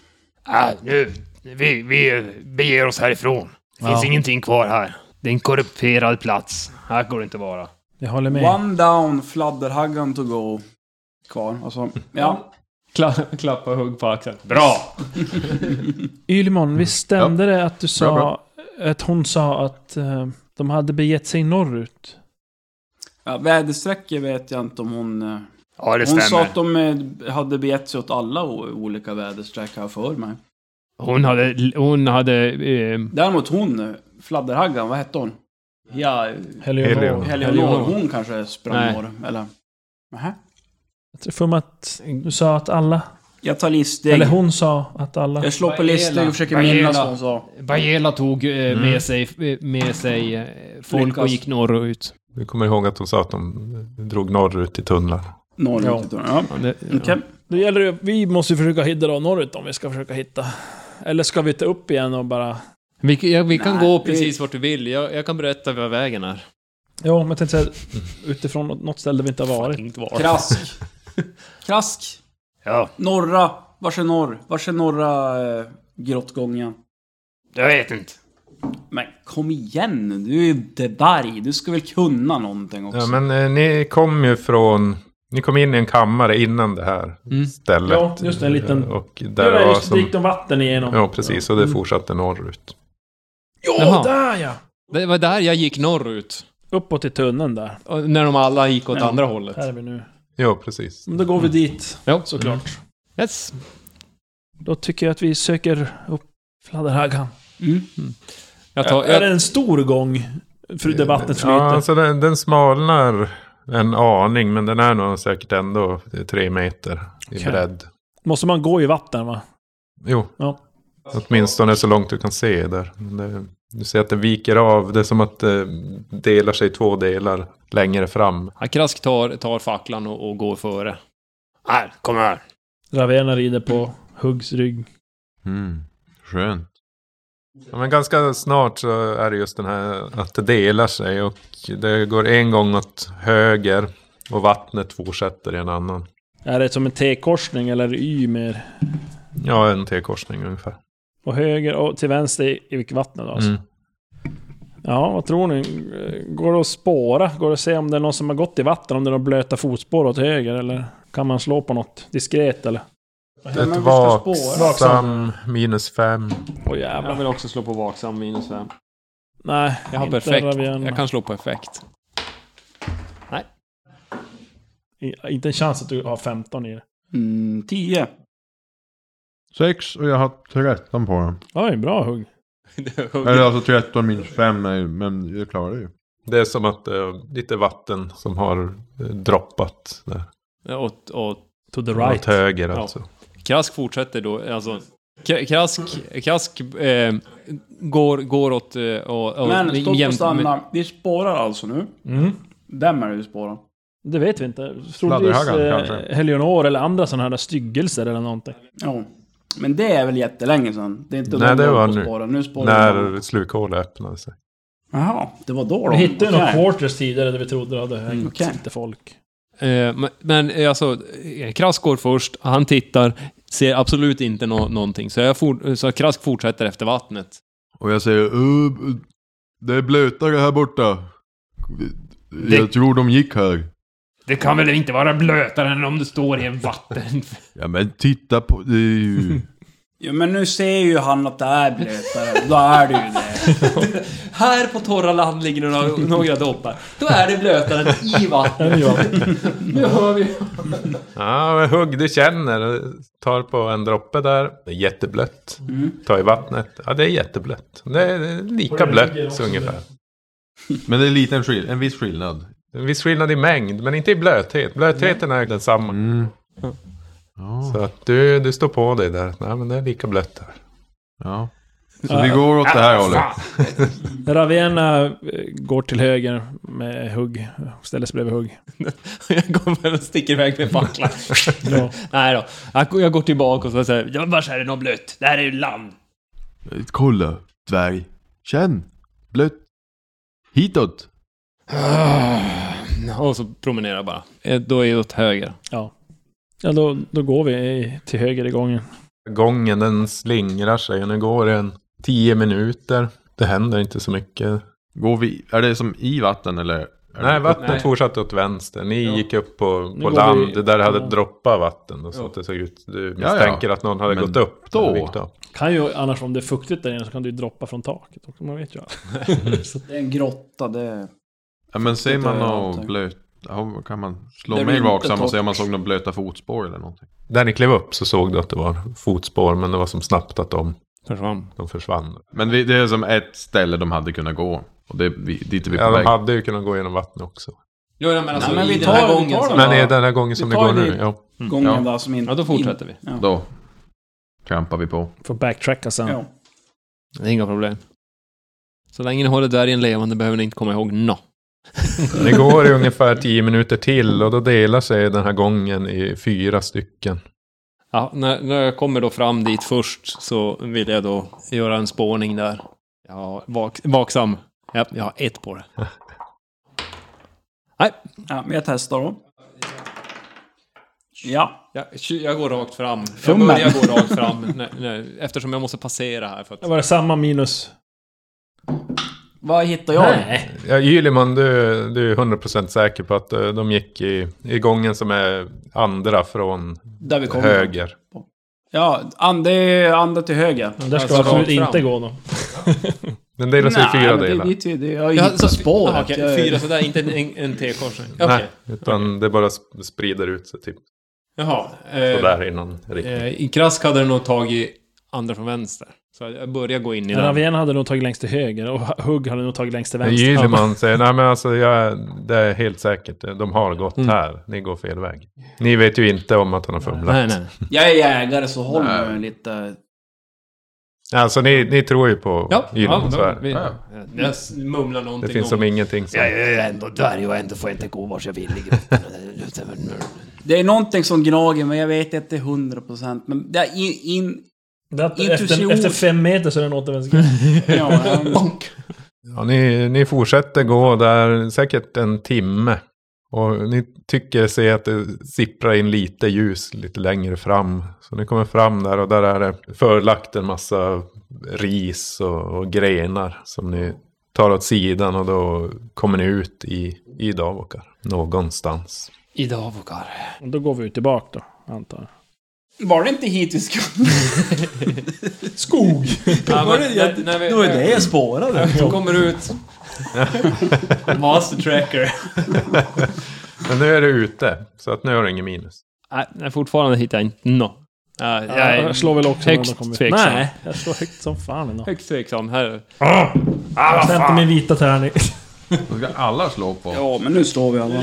Speaker 10: Ah, nu, vi, vi beger oss härifrån. Det finns
Speaker 6: Ja.
Speaker 10: ingenting kvar här. Det är en korrumperad plats. Här går det inte att vara.
Speaker 6: Jag håller med.
Speaker 3: One down, fladderhaggan to go. Kvar. Alltså, ja.
Speaker 8: Kla klappa och hugg på axeln. Bra!
Speaker 6: Ylmon, visst stämde det att du
Speaker 8: Bra,
Speaker 6: sa...
Speaker 8: bra.
Speaker 6: Att hon sa att eh, de hade begett sig norrut?
Speaker 3: ja väderstrecket vet jag inte om hon... eh,
Speaker 10: Ja, det
Speaker 3: hon
Speaker 10: stämmer.
Speaker 3: sa att de eh, hade begett sig åt alla o- olika väderstreck här för mig.
Speaker 8: Hon hade... Hon hade... Eh,
Speaker 3: Däremot hon, eh, fladderhaggan, vad hette hon? Ja...
Speaker 6: Eleonor.
Speaker 3: Eleonor.
Speaker 6: Eleonor.
Speaker 3: Hon kanske sprang
Speaker 6: Nej.
Speaker 3: norr, eller? Nähä?
Speaker 6: Jag tror för mig att du sa att alla...
Speaker 3: Jag tar livssteg.
Speaker 6: Eller hon sa att alla...
Speaker 3: Jag slår på listor och försöker
Speaker 10: Bajela.
Speaker 3: minnas vad hon sa.
Speaker 8: Bajela tog eh,
Speaker 4: Mm.
Speaker 8: med sig, med sig eh, folk och
Speaker 3: Lyckas.
Speaker 8: gick norrut.
Speaker 4: Du kommer ihåg att hon sa att de drog norrut i tunnlar.
Speaker 3: Norrut. typ. Ja.
Speaker 8: det-
Speaker 3: Okej.
Speaker 6: Då gäller det, vi måste ju försöka hitta dra norrut om vi ska försöka hitta. Eller ska vi ta upp igen och bara...
Speaker 8: Vi, ja, vi kan
Speaker 6: Nej,
Speaker 8: gå
Speaker 6: vi-
Speaker 8: precis vart du vill. Jag, jag kan berätta vad vägen är.
Speaker 6: Jo, men jag tänkte säga utifrån något- något ställe där vi inte har varit. Inte var.
Speaker 8: (laughs)
Speaker 3: Krask. Krask.
Speaker 10: Ja.
Speaker 3: Norra. Vars är norr? Vars är norra eh, grottgången?
Speaker 10: Jag vet inte.
Speaker 3: Men kom igen nu, du är ju dvärg. Du ska väl kunna någonting också?
Speaker 4: Ja, men eh, ni kom ju från... Ni kom in i en kammare innan det här stället.
Speaker 6: Mm. Ja, just det, en liten-
Speaker 4: Eh, Och
Speaker 6: Det
Speaker 4: där
Speaker 6: var
Speaker 4: var
Speaker 6: just
Speaker 4: som...
Speaker 6: dit de vatten igenom.
Speaker 4: Ja, precis.
Speaker 6: Mm.
Speaker 4: Och det fortsatte norrut.
Speaker 6: Jo,
Speaker 8: Jaha.
Speaker 6: där ja!
Speaker 8: Det var där jag gick norrut.
Speaker 6: Uppåt i tunneln där.
Speaker 8: Och När de alla gick åt
Speaker 6: Ja.
Speaker 8: andra hållet.
Speaker 6: Här är vi nu.
Speaker 4: Ja, precis.
Speaker 6: Men då går vi dit,
Speaker 8: Ja. Mm.
Speaker 6: såklart.
Speaker 8: Yes.
Speaker 6: Då tycker jag att vi söker upp fladderhaggan.
Speaker 3: Mm.
Speaker 8: Jag tar,
Speaker 6: Är
Speaker 8: jag,
Speaker 6: det en stor gång? För det vattnet flyter.
Speaker 4: Ja, alltså den, den smalnar en aning. Men den är nog säkert ändå tre meter i
Speaker 6: Okej.
Speaker 4: bredd.
Speaker 6: Måste man gå i vatten va?
Speaker 4: Jo.
Speaker 6: Ja.
Speaker 4: Åtminstone så långt du kan se där. Men Det, du ser att det viker av. Det är som att det delar sig i två delar längre fram.
Speaker 8: jag krask tar, tar facklan och, och går före.
Speaker 10: Här, kom här.
Speaker 6: Ravena rider på Huggs rygg.
Speaker 5: Mm. Skönt.
Speaker 4: Ja, men ganska snart så är det just den här att det delar sig. Och det går en gång åt höger. Och vattnet fortsätter i en annan.
Speaker 6: Är det som en T-korsning eller Y mer?
Speaker 4: Ja, en T-korsning ungefär.
Speaker 6: Och höger och till vänster i, i vattnet då, alltså.
Speaker 4: Mm.
Speaker 6: Ja, vad tror ni? Går det att spåra? Går det att se om det är någon som har gått i vatten? Om det är några blöta fotspår åt höger? Eller kan man slå på något diskret eller?
Speaker 3: men vi
Speaker 4: Ett
Speaker 3: ska
Speaker 4: vaksam minus fem.
Speaker 6: Åh jävlar.
Speaker 8: vill också slå på vaksam minus fem.
Speaker 6: Nej,
Speaker 8: Jag har
Speaker 6: inte
Speaker 8: perfekt.
Speaker 6: Ravian.
Speaker 8: Jag kan slå på effekt.
Speaker 6: I- Inte en chans att du har 15 i det.
Speaker 3: Mm, tio.
Speaker 5: Sex och jag har 13 på den.
Speaker 6: Oj, bra hugg.
Speaker 5: Eller alltså 13 minus 5, men jag klarar det ju.
Speaker 4: Det är som att det är lite vatten som har eh, droppat. Där.
Speaker 8: Åt, åt
Speaker 6: To the
Speaker 4: Åt
Speaker 6: right.
Speaker 4: höger
Speaker 8: Ja.
Speaker 4: alltså.
Speaker 8: Krask fortsätter då, alltså... K- Krask, krask eh, går, går åt... eh, Och, och,
Speaker 3: Men stopp och
Speaker 8: jämt-
Speaker 3: stanna. Vi spårar alltså nu.
Speaker 6: Mm.
Speaker 3: Vem är det vi spårar?
Speaker 6: Det vet vi inte. Troligtvis
Speaker 5: Fladderhaggan,
Speaker 6: eh,
Speaker 5: kanske.
Speaker 6: Helionor eller andra sådana här styggelser eller någonting.
Speaker 3: Ja. Men det är väl jättelänge sedan? Det är inte
Speaker 4: Nej,
Speaker 3: någon
Speaker 4: det
Speaker 3: gång
Speaker 4: var
Speaker 3: på
Speaker 4: nu.
Speaker 3: Spåra. nu spårar vi.
Speaker 4: När slukhålet öppnade sig.
Speaker 3: Jaha, det var då då?
Speaker 6: Vi hittade ju några
Speaker 3: Okej.
Speaker 6: quarters tidigare där vi trodde det hade hängt
Speaker 3: okej.
Speaker 6: lite folk.
Speaker 8: Eh, men- men eh, alltså, eh, Krask går först, han tittar, ser absolut inte nå- någonting. Så, jag for, så Krask fortsätter efter vattnet.
Speaker 5: Och jag säger, "Uh, det är blötare här borta. Jag
Speaker 10: Det-
Speaker 5: tror de gick här.
Speaker 10: Det kan väl inte vara blötare än om du står i en vatten...
Speaker 5: Ja men titta på, det är (laughs) ju...
Speaker 3: Ja, men nu ser ju han att det är blötare. Då är det ju det.
Speaker 8: Här på torra land ligger det några, några doppar. Då är det blötare än i vattnet. Nu hör vi...
Speaker 4: Ja, men hugg du känner. Tar på en droppe där. Det är jätteblött.
Speaker 8: Mm.
Speaker 4: Ta i vattnet. Ja, det är jätteblött. Det är det är lika blött ungefär.
Speaker 5: Men det är en liten skill- en viss skillnad.
Speaker 4: Det är En viss skillnad i mängd, men inte i blöthet. Blötheten är densamma.
Speaker 5: Mm.
Speaker 8: Mm.
Speaker 4: Så att du, du står på dig där. Nej, men det är lika blött här.
Speaker 5: Ja. Så vi går åt det här hållet.
Speaker 6: Ravena eh, går till höger med hugg. Ställer sig bredvid hugg.
Speaker 8: (laughs) Jag kommer och sticker iväg med facklan.
Speaker 6: (laughs) Ja.
Speaker 8: Nej då. Jag går- Jag går tillbaka och så säger jag, vars är det något blött? Det här är ju land.
Speaker 5: Kolla, dvärg. Känn. Blött. Hitåt.
Speaker 6: Ah.
Speaker 8: Och så promenerar jag bara. Eh, Då är jag åt höger.
Speaker 6: Ja. Ja, då, då går vi i- till höger i gången.
Speaker 4: Gången den slingrar sig och nu går den tio minuter. Det händer inte så mycket.
Speaker 5: Går vi, är det som i vatten eller
Speaker 4: Nej, vattnet
Speaker 8: Nej.
Speaker 4: fortsatte åt vänster. Ni
Speaker 8: Ja.
Speaker 4: gick upp på,
Speaker 8: Nu
Speaker 4: på
Speaker 8: går
Speaker 4: land
Speaker 8: vi-
Speaker 4: där det hade
Speaker 8: Ja.
Speaker 4: droppat vatten. Och så
Speaker 8: Ja.
Speaker 4: att det såg ut. Du
Speaker 8: Ja, ja.
Speaker 4: misstänker att någon hade
Speaker 8: Men
Speaker 4: gått upp.
Speaker 8: då-
Speaker 4: när du gick då.
Speaker 6: Kan ju, annars om det är fuktigt där inne så kan du ju droppa från taket också, man vet ju aldrig. Så-
Speaker 3: Det är en grotta, det...
Speaker 4: Mm,
Speaker 5: Ja, men ser man
Speaker 3: Det är
Speaker 5: något
Speaker 3: någonting.
Speaker 5: blöt... ja, Kan man slå
Speaker 3: Det är
Speaker 5: mig
Speaker 3: inte
Speaker 5: vaksam och se om man
Speaker 3: torrt.
Speaker 5: såg några blöta fotspår eller någonting?
Speaker 4: Där ni klev upp så såg du att det var fotspår. Men det var som snabbt att de
Speaker 8: försvann.
Speaker 4: De försvann.
Speaker 5: Men vi, det är som ett ställe de hade kunnat gå. Och det, vi, dit är vi på
Speaker 4: Ja, de
Speaker 5: väg.
Speaker 4: hade ju kunnat gå genom vattnet också.
Speaker 8: Jo, jag menar
Speaker 3: Nej,
Speaker 8: alltså
Speaker 3: men
Speaker 8: i
Speaker 3: vi
Speaker 8: den här
Speaker 3: tar- vi
Speaker 8: gången.
Speaker 3: tar
Speaker 8: som
Speaker 4: den
Speaker 8: var-
Speaker 4: här- den här gången som
Speaker 3: Vi
Speaker 4: det går
Speaker 3: tar
Speaker 4: nu,
Speaker 3: det-
Speaker 4: ja.
Speaker 8: Mm.
Speaker 3: Gången
Speaker 8: Ja.
Speaker 3: där som in,
Speaker 8: Ja, då fortsätter
Speaker 3: in,
Speaker 8: vi.
Speaker 3: Ja.
Speaker 5: Då trampar vi på.
Speaker 6: Får backtracka sen.
Speaker 3: Ja.
Speaker 8: Det är inga problem. Så länge ni håller dvärgen levande behöver ni inte komma ihåg nå.
Speaker 4: Det går i ungefär tio minuter till och då delar sig den här gången i fyra stycken.
Speaker 8: Ja, när, när jag kommer då fram dit först så vill jag då göra en spåning där. Ja, vak, vaksam. Ja, jag har ett på det.
Speaker 3: Ja, men jag testar då. Ja.
Speaker 8: Jag, jag går rakt fram. Jag
Speaker 3: Fummen.
Speaker 8: börjar gå rakt fram (laughs) när, när, eftersom jag måste passera här. För att,
Speaker 6: Det var det samma minus.
Speaker 3: Vad hittar jag?
Speaker 4: Ja, Yliman, du, du är 100% säker på att eh, de gick i, i gången som är andra från
Speaker 3: Där vi kommer.
Speaker 4: höger.
Speaker 3: Ja, ande, ande till höger.
Speaker 6: Men där ska
Speaker 8: Alltså,
Speaker 6: vi absolut
Speaker 8: rakt fram.
Speaker 6: inte gå då.
Speaker 4: Den delar sig i fyra
Speaker 3: men
Speaker 4: delar.
Speaker 3: Det, det, det, det, jag
Speaker 8: Ja,
Speaker 3: hittar
Speaker 8: så-
Speaker 3: spåret.
Speaker 8: Ah, okej,
Speaker 3: Jag-
Speaker 8: Fyra sådär, inte en, en, en T-kors. Okej.
Speaker 4: Nej, utan det bara sp- sprider ut sig typ
Speaker 8: Jaha. Eh,
Speaker 4: sådär i någon riktning.
Speaker 8: eh, I Krask hade den nog tagit andra från vänster. Så jag börjar gå in i den.
Speaker 6: Ravien hade nog tagit längst till höger och Hugg hade nog tagit längst till vänster. (laughs)
Speaker 4: Yliman säger, nej men alltså jag, det är helt säkert, de har gått
Speaker 8: Mm.
Speaker 4: här, ni går fel väg. Ni vet ju inte om att han har fumlat.
Speaker 8: Nej, nej.
Speaker 3: Jag är jägare så håll mig lite...
Speaker 4: Alltså ni, ni tror ju på
Speaker 8: Ja,
Speaker 4: Yliman, så är det.
Speaker 8: vi, eh, Jag s- mumlar någonting
Speaker 4: Det finns
Speaker 8: om...
Speaker 4: som ingenting som...
Speaker 10: är ändå dvärg och ändå får jag inte gå vars jag vill. i gruppen.
Speaker 3: Det är någonting som gnager men jag vet inte hundra procent. Men det är in... in
Speaker 6: Det är att
Speaker 3: Intuition.
Speaker 6: efter, efter fem meter så är det
Speaker 4: (laughs)
Speaker 6: en återvändsgränd.
Speaker 8: (laughs)
Speaker 3: ja, ehm,
Speaker 4: Ja, ni, ni fortsätter gå där säkert en timme. Och ni tycker se att det sipprar in lite ljus lite längre fram. Så ni kommer fram där och där är det förlagt en massa ris och, och grenar som ni tar åt sidan och då kommer ni ut i, i Davokar. Någonstans.
Speaker 8: Idag, Vokar.
Speaker 6: Och då går vi ju tillbaka då, antar jag.
Speaker 3: var det inte hit
Speaker 8: (laughs)
Speaker 3: vi skulle?
Speaker 6: Skog!
Speaker 8: Ja, men, när, när vi,
Speaker 3: jag (laughs) spårade.
Speaker 8: Så kommer du ut. Master tracker.
Speaker 4: Men nu är det ute, så att nu har du ingen minus.
Speaker 8: Nej, nej, fortfarande hittar jag inte nå. Ja, jag
Speaker 6: Jag,
Speaker 8: är
Speaker 6: jag slår väl också
Speaker 8: högst
Speaker 6: kommer ut.
Speaker 8: tveksam.
Speaker 6: Nej, (laughs) jag slår högt som fan ändå.
Speaker 8: högst tveksam. Här.
Speaker 6: Jag stämde inte min
Speaker 4: (laughs)
Speaker 6: vita tärning.
Speaker 5: Då ska alla slå på.
Speaker 3: Ja, men nu står vi alla.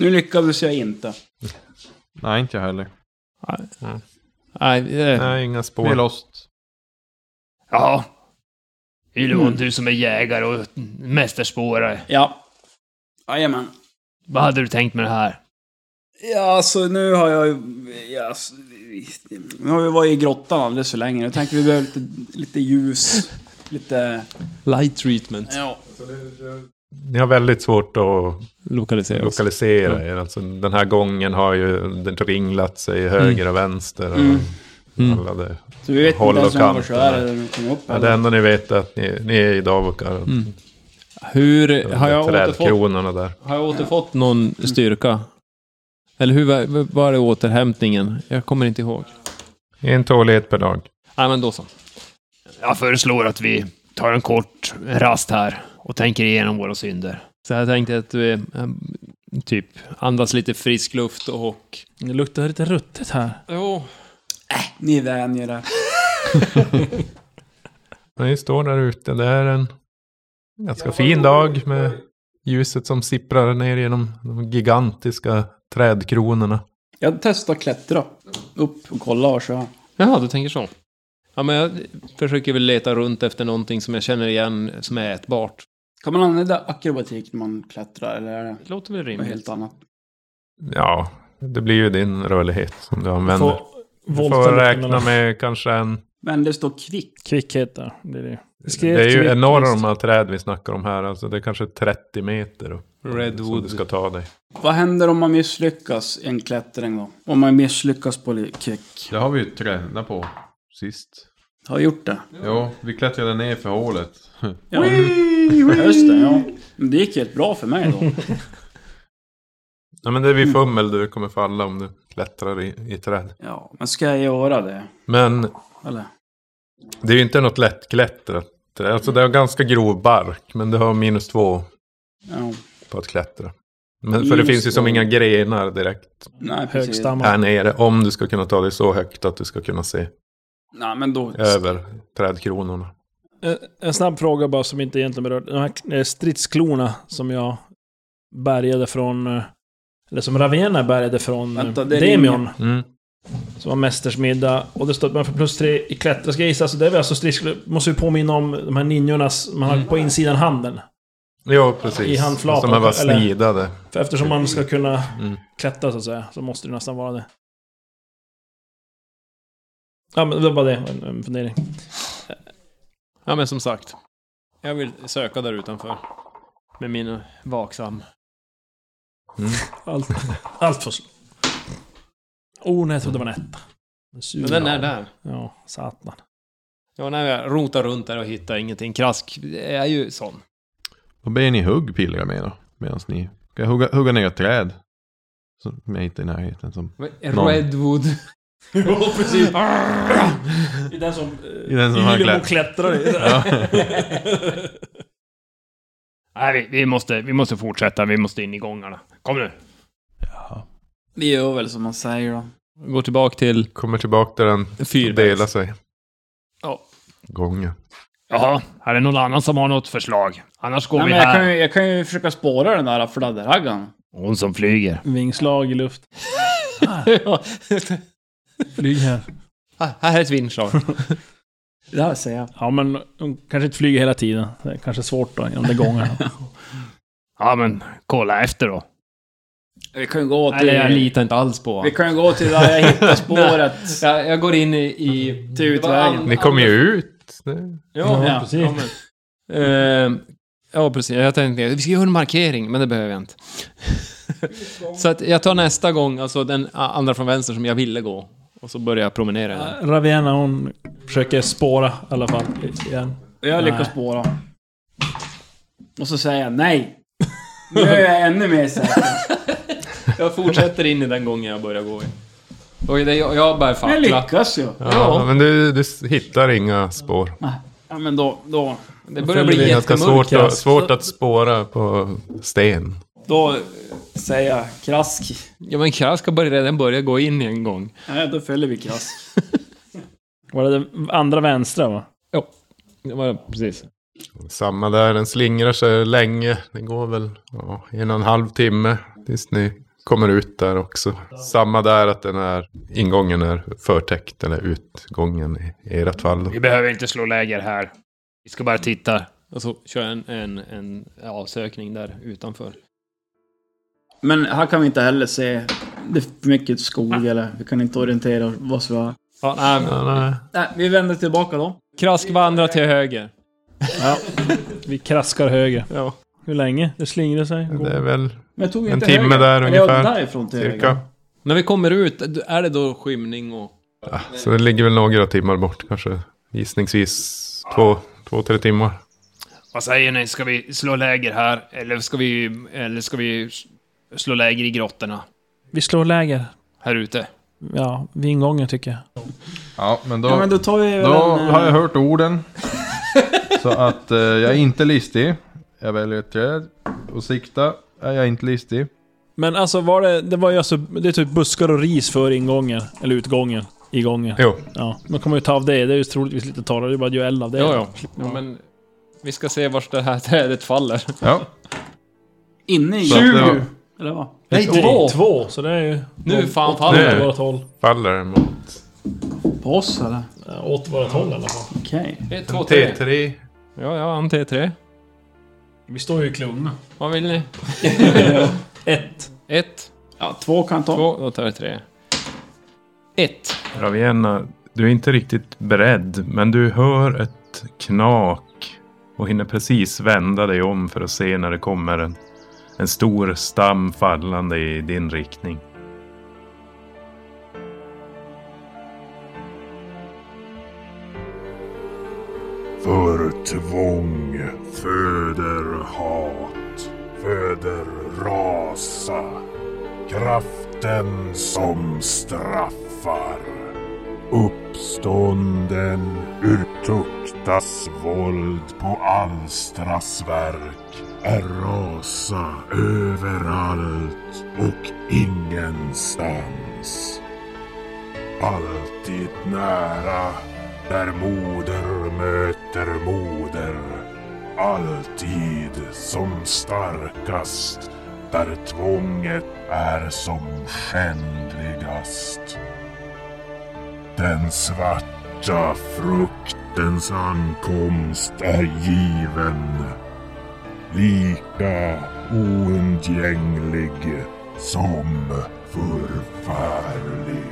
Speaker 3: Nu lyckades jag inte.
Speaker 5: Nej, inte jag heller.
Speaker 8: Nej, det,
Speaker 4: Nej, inga
Speaker 5: Vi är
Speaker 4: spår.
Speaker 5: lost.
Speaker 10: Ja. Ylon,
Speaker 3: Mm.
Speaker 10: du som är jägare och mästerspårare.
Speaker 3: Ja. Jajamän.
Speaker 10: Vad hade du tänkt med det här?
Speaker 3: Ja, alltså nu har jag ju- ja, alltså, Nu har vi varit i grottan alldeles för länge. Jag tänkte vi behöver lite, lite ljus. Lite...
Speaker 8: light treatment.
Speaker 3: Ja.
Speaker 4: Ni har väldigt svårt att
Speaker 8: Lokalisera oss.
Speaker 4: lokalisera er. Alltså, den här gången har ju den ringlat sig höger och vänster. Och
Speaker 3: Mm.
Speaker 4: alla det.
Speaker 3: Så vi vet
Speaker 4: Håll
Speaker 3: inte
Speaker 4: och
Speaker 3: ens om vart
Speaker 4: kanten
Speaker 3: jag är
Speaker 4: där.
Speaker 3: eller när vi kommer upp.
Speaker 4: Ja, det enda ni vet är att ni, ni är i Davokar.
Speaker 8: Mm. Hur har jag, återfått,
Speaker 4: Trädkronorna där.
Speaker 8: har jag återfått någon styrka? Eller hur var- var det återhämtningen? Jag kommer inte ihåg.
Speaker 4: En tålighet per dag.
Speaker 8: Nej, men då så.
Speaker 10: Jag föreslår att vi tar en kort rast här och tänker igenom våra synder.
Speaker 8: Så jag tänkte att vi eh, typ andas lite frisk luft och...
Speaker 6: Det luktar lite ruttet här.
Speaker 8: Jo.
Speaker 3: Ni vänjer er.
Speaker 4: Men ni står där ute. Det är en ganska fin dag med ljuset som sipprar ner genom de gigantiska trädkronorna.
Speaker 3: Jag testar klättra. Upp och kolla och så.
Speaker 8: Jaha, du tänker så. Ja, men jag försöker väl leta runt efter någonting som jag känner igen som är ätbart.
Speaker 3: Kan man använda akrobatik när man klättrar eller är det
Speaker 8: Det låter väl
Speaker 3: något
Speaker 8: rimligt.
Speaker 3: helt annat?
Speaker 4: Ja, det blir ju din rörlighet som du använder.
Speaker 6: Få
Speaker 4: du får
Speaker 6: volta
Speaker 4: räkna
Speaker 6: luktarna.
Speaker 4: med kanske en
Speaker 3: Men det står kvick.
Speaker 6: Kvickhet där. Det är, det.
Speaker 4: Det
Speaker 6: Skrev
Speaker 4: är ju
Speaker 6: kvick, visst.
Speaker 4: enorma träd vi snackar om här. Alltså det är kanske 30 meter upp. Som du
Speaker 8: Redwood.
Speaker 4: ska ta dig.
Speaker 3: Vad händer om man misslyckas i en klättring då? Om man misslyckas på li- kick?
Speaker 5: Det har vi ju tränat på sist.
Speaker 3: Har gjort det?
Speaker 5: Ja, vi klättrade ner för hålet.
Speaker 3: Ja. Just det, ja. Men det gick helt bra för mig då.
Speaker 4: Ja, men det är vid
Speaker 3: Mm.
Speaker 4: fummel du kommer falla om du klättrar i, i träd.
Speaker 3: (laughs) Ja, men ska jag göra det?
Speaker 4: Men
Speaker 3: Eller?
Speaker 4: det är ju inte något lättklättrat. Alltså det har ganska grov bark, men det har minus två
Speaker 3: Ja.
Speaker 4: på att klättra. Men, för det
Speaker 3: Minus
Speaker 4: finns ju som
Speaker 3: två.
Speaker 4: inga grenar direkt
Speaker 3: Nej, precis.
Speaker 6: Högstammar.
Speaker 4: här nere. Om du ska kunna ta dig så högt att du ska kunna se
Speaker 3: Nej, men då...
Speaker 4: över trädkronorna.
Speaker 6: En- Eh, En snabb fråga bara som inte egentligen berör. De här eh, stridsklorna som jag bärgade från... eh, Eller som Ravenna bärgade från eh,
Speaker 3: Vänta, det
Speaker 6: Demion.
Speaker 3: ringer.
Speaker 4: Mm.
Speaker 6: Som var mästersmiddag. Och det står att man får plus tre i klättra. Ska jag gissa? Så det är väl alltså stridsklor. Måste vi påminna om de här ninjornas man har på insidan handen.
Speaker 4: Ja, precis.
Speaker 6: I handflatan,
Speaker 4: Som här var
Speaker 6: eller?
Speaker 4: snidade.
Speaker 6: För eftersom man ska kunna
Speaker 4: Mm.
Speaker 6: klättra så att säga. Så måste det nästan vara det. Ja men det var bara det. En, en fundering.
Speaker 8: Ja, men som sagt. Jag vill söka där utanför. Med min vaksam.
Speaker 6: Allt, allt får slå. Oh nej, jag trodde det var en etta. En sur-
Speaker 8: Men den är där.
Speaker 6: Ja, satan.
Speaker 8: Ja, när jag rotar runt där och hittar ingenting. Krask är ju sån.
Speaker 5: Då ber ni hugg pilgrim med då. Medan ni ska hugga, hugga ner ett träd. Som är inte i
Speaker 3: (laughs)
Speaker 5: närheten. Som någon-
Speaker 8: Redwood.
Speaker 6: Ja, precis. I den som...
Speaker 5: I den som han
Speaker 6: Ylemo
Speaker 5: klätt-
Speaker 6: klättrar i.
Speaker 8: (laughs)
Speaker 10: Nej, vi, vi, måste, vi måste fortsätta. Vi måste in i gångarna. Kom nu.
Speaker 3: Vi gör väl som man säger då.
Speaker 8: Går tillbaka till
Speaker 4: Kommer tillbaka där den delar
Speaker 8: fyrvägs.
Speaker 4: sig.
Speaker 10: Ja.
Speaker 4: Gången.
Speaker 10: Jaha, är det någon annan som har något förslag? Annars går
Speaker 3: Nej,
Speaker 10: vi
Speaker 3: men jag,
Speaker 10: här.
Speaker 3: kan ju, jag kan ju försöka spåra den där fladderhaggan.
Speaker 10: Hon som flyger.
Speaker 6: Vingslag i luft.
Speaker 8: Ja.
Speaker 6: (laughs) Flyg här.
Speaker 8: Ah, här är ett (laughs) vindslag.
Speaker 3: Det här ser jag.
Speaker 6: Ja, men de kanske inte flyger hela tiden. Det är kanske svårt då, genom de (laughs) gångarna.
Speaker 10: Ja, men kolla efter då.
Speaker 3: Vi kan ju gå till...
Speaker 8: Eller jag litar inte alls på
Speaker 3: vi
Speaker 8: honom.
Speaker 3: kan ju gå till där jag (laughs) hittade spåret.
Speaker 8: Jag, jag går in i... i
Speaker 3: Till
Speaker 8: det var
Speaker 3: utvägen.
Speaker 8: an-
Speaker 4: Ni kommer ju ut. Det-
Speaker 8: Ja,
Speaker 3: Ja,
Speaker 6: precis.
Speaker 8: Ja, men. Eh, ja, precis. Jag tänkte vi ska göra en markering, men det behöver jag inte. (laughs) så att jag tar nästa gång, alltså den a- andra från vänster som jag ville gå. Och så börjar jag promenera. där.
Speaker 6: Ravenna hon försöker spåra i alla fall. Igen.
Speaker 3: Jag lyckas
Speaker 6: Nej.
Speaker 3: spåra. Och så säger jag nej. Nu är jag ännu mer (laughs) säker.
Speaker 8: Jag fortsätter in i den gången jag börjar gå i. Och det, jag, jag bär
Speaker 3: Men jag
Speaker 8: fackla.
Speaker 3: lyckas ju.
Speaker 4: Ja, men du, du s- hittar inga spår.
Speaker 3: Ja men då, då,
Speaker 8: Det börjar bli
Speaker 4: Det är ganska
Speaker 8: jättemörkt.
Speaker 4: svårt,
Speaker 8: här.
Speaker 4: att- svårt att spåra på sten.
Speaker 3: då säger jag krask.
Speaker 8: Ja, men Kraska börjar redan börja gå in i en gång.
Speaker 3: Nej, då följer vi krask.
Speaker 6: Var det den andra vänstra va?
Speaker 8: Ja, det var precis.
Speaker 4: Samma där, den slingrar sig länge. Det går väl ja, en och en halv timme tills ni kommer ut där också. Samma där att den här ingången är förtäckt, eller utgången i ert fall. då.
Speaker 10: Vi behöver inte slå läger här. Vi ska bara titta.
Speaker 8: Och så kör jag en, en, en avsökning där utanför.
Speaker 3: Men här kan vi inte heller se. Det är för mycket skog eller vi kan inte orientera oss. Va?
Speaker 8: Ja, nej, men-
Speaker 4: Ja, nej.
Speaker 3: Nej, vi vänder tillbaka då.
Speaker 8: Krask vandrar till höger.
Speaker 6: Vi kraskar höger.
Speaker 8: Ja.
Speaker 6: Hur länge? Det slingrar sig.
Speaker 4: Det är väl
Speaker 3: Men jag tog
Speaker 4: En timme där
Speaker 3: Eller jag
Speaker 4: ungefär.
Speaker 3: därifrån till
Speaker 4: cirka.
Speaker 8: När vi kommer ut, är det då skymning och...
Speaker 4: Ja, så det ligger väl några timmar bort kanske. Gissningsvis två, två tre timmar.
Speaker 10: Vad säger ni? Ska vi slå läger här? Eller ska vi, eller ska vi slå läger i grottorna?
Speaker 6: Vi slår läger.
Speaker 10: Här ute?
Speaker 6: Ja, vid ingången tycker jag.
Speaker 5: Ja, men då,
Speaker 3: Ja men då tar vi väl
Speaker 5: då
Speaker 3: en... eh,
Speaker 5: har jag hört orden. (laughs) så att eh, jag är inte listig. Jag väljer ett träd. Och sikta är jag inte listig.
Speaker 6: Men alltså var det... Det var ju alltså... Det är typ buskar och ris för ingången. Eller utgången. I gången.
Speaker 4: Jo.
Speaker 6: Ja. Man kommer ju ta av det. Det är ju troligtvis lite torrare. Det är bara att göra eld av det.
Speaker 8: Ja, ja. ja men vi ska se vart det här (laughs) trädet faller.
Speaker 5: Ja.
Speaker 3: Inne i...
Speaker 5: Så att det var-
Speaker 3: 20! Eller vad?
Speaker 8: Nej,
Speaker 6: Två! Två! Så det är ju...
Speaker 8: Nu fan
Speaker 6: Åt
Speaker 8: faller det.
Speaker 6: vårat håll.
Speaker 4: Faller den mot
Speaker 3: På oss eller?
Speaker 6: Ja, Åt vårat håll i alla fall.
Speaker 3: Okej.
Speaker 8: Det är två, tre.
Speaker 4: T3.
Speaker 8: Ja, ja, han T3.
Speaker 6: Vi står ju i klungorna.
Speaker 8: Vad vill ni?
Speaker 6: Ett.
Speaker 8: (laughs) Ett,
Speaker 3: Ja, två kan ta.
Speaker 8: två, då tar jag tre. Ett.
Speaker 4: Ravenna, du är inte riktigt beredd, men du hör ett knak och hinner precis vända dig om för att se när det kommer en, en stor stam fallande i din riktning.
Speaker 1: för tvång föder hat, föder rasa. Kraften som straffar. Uppstånden ur tuktas våld på Alstras verk är rasa överallt och ingenstans. Alltid nära där moder möter moder. Alltid som starkast där tvånget är som skändligast. Den svarta fruktens ankomst är given. Lika oundgänglig som förfärlig.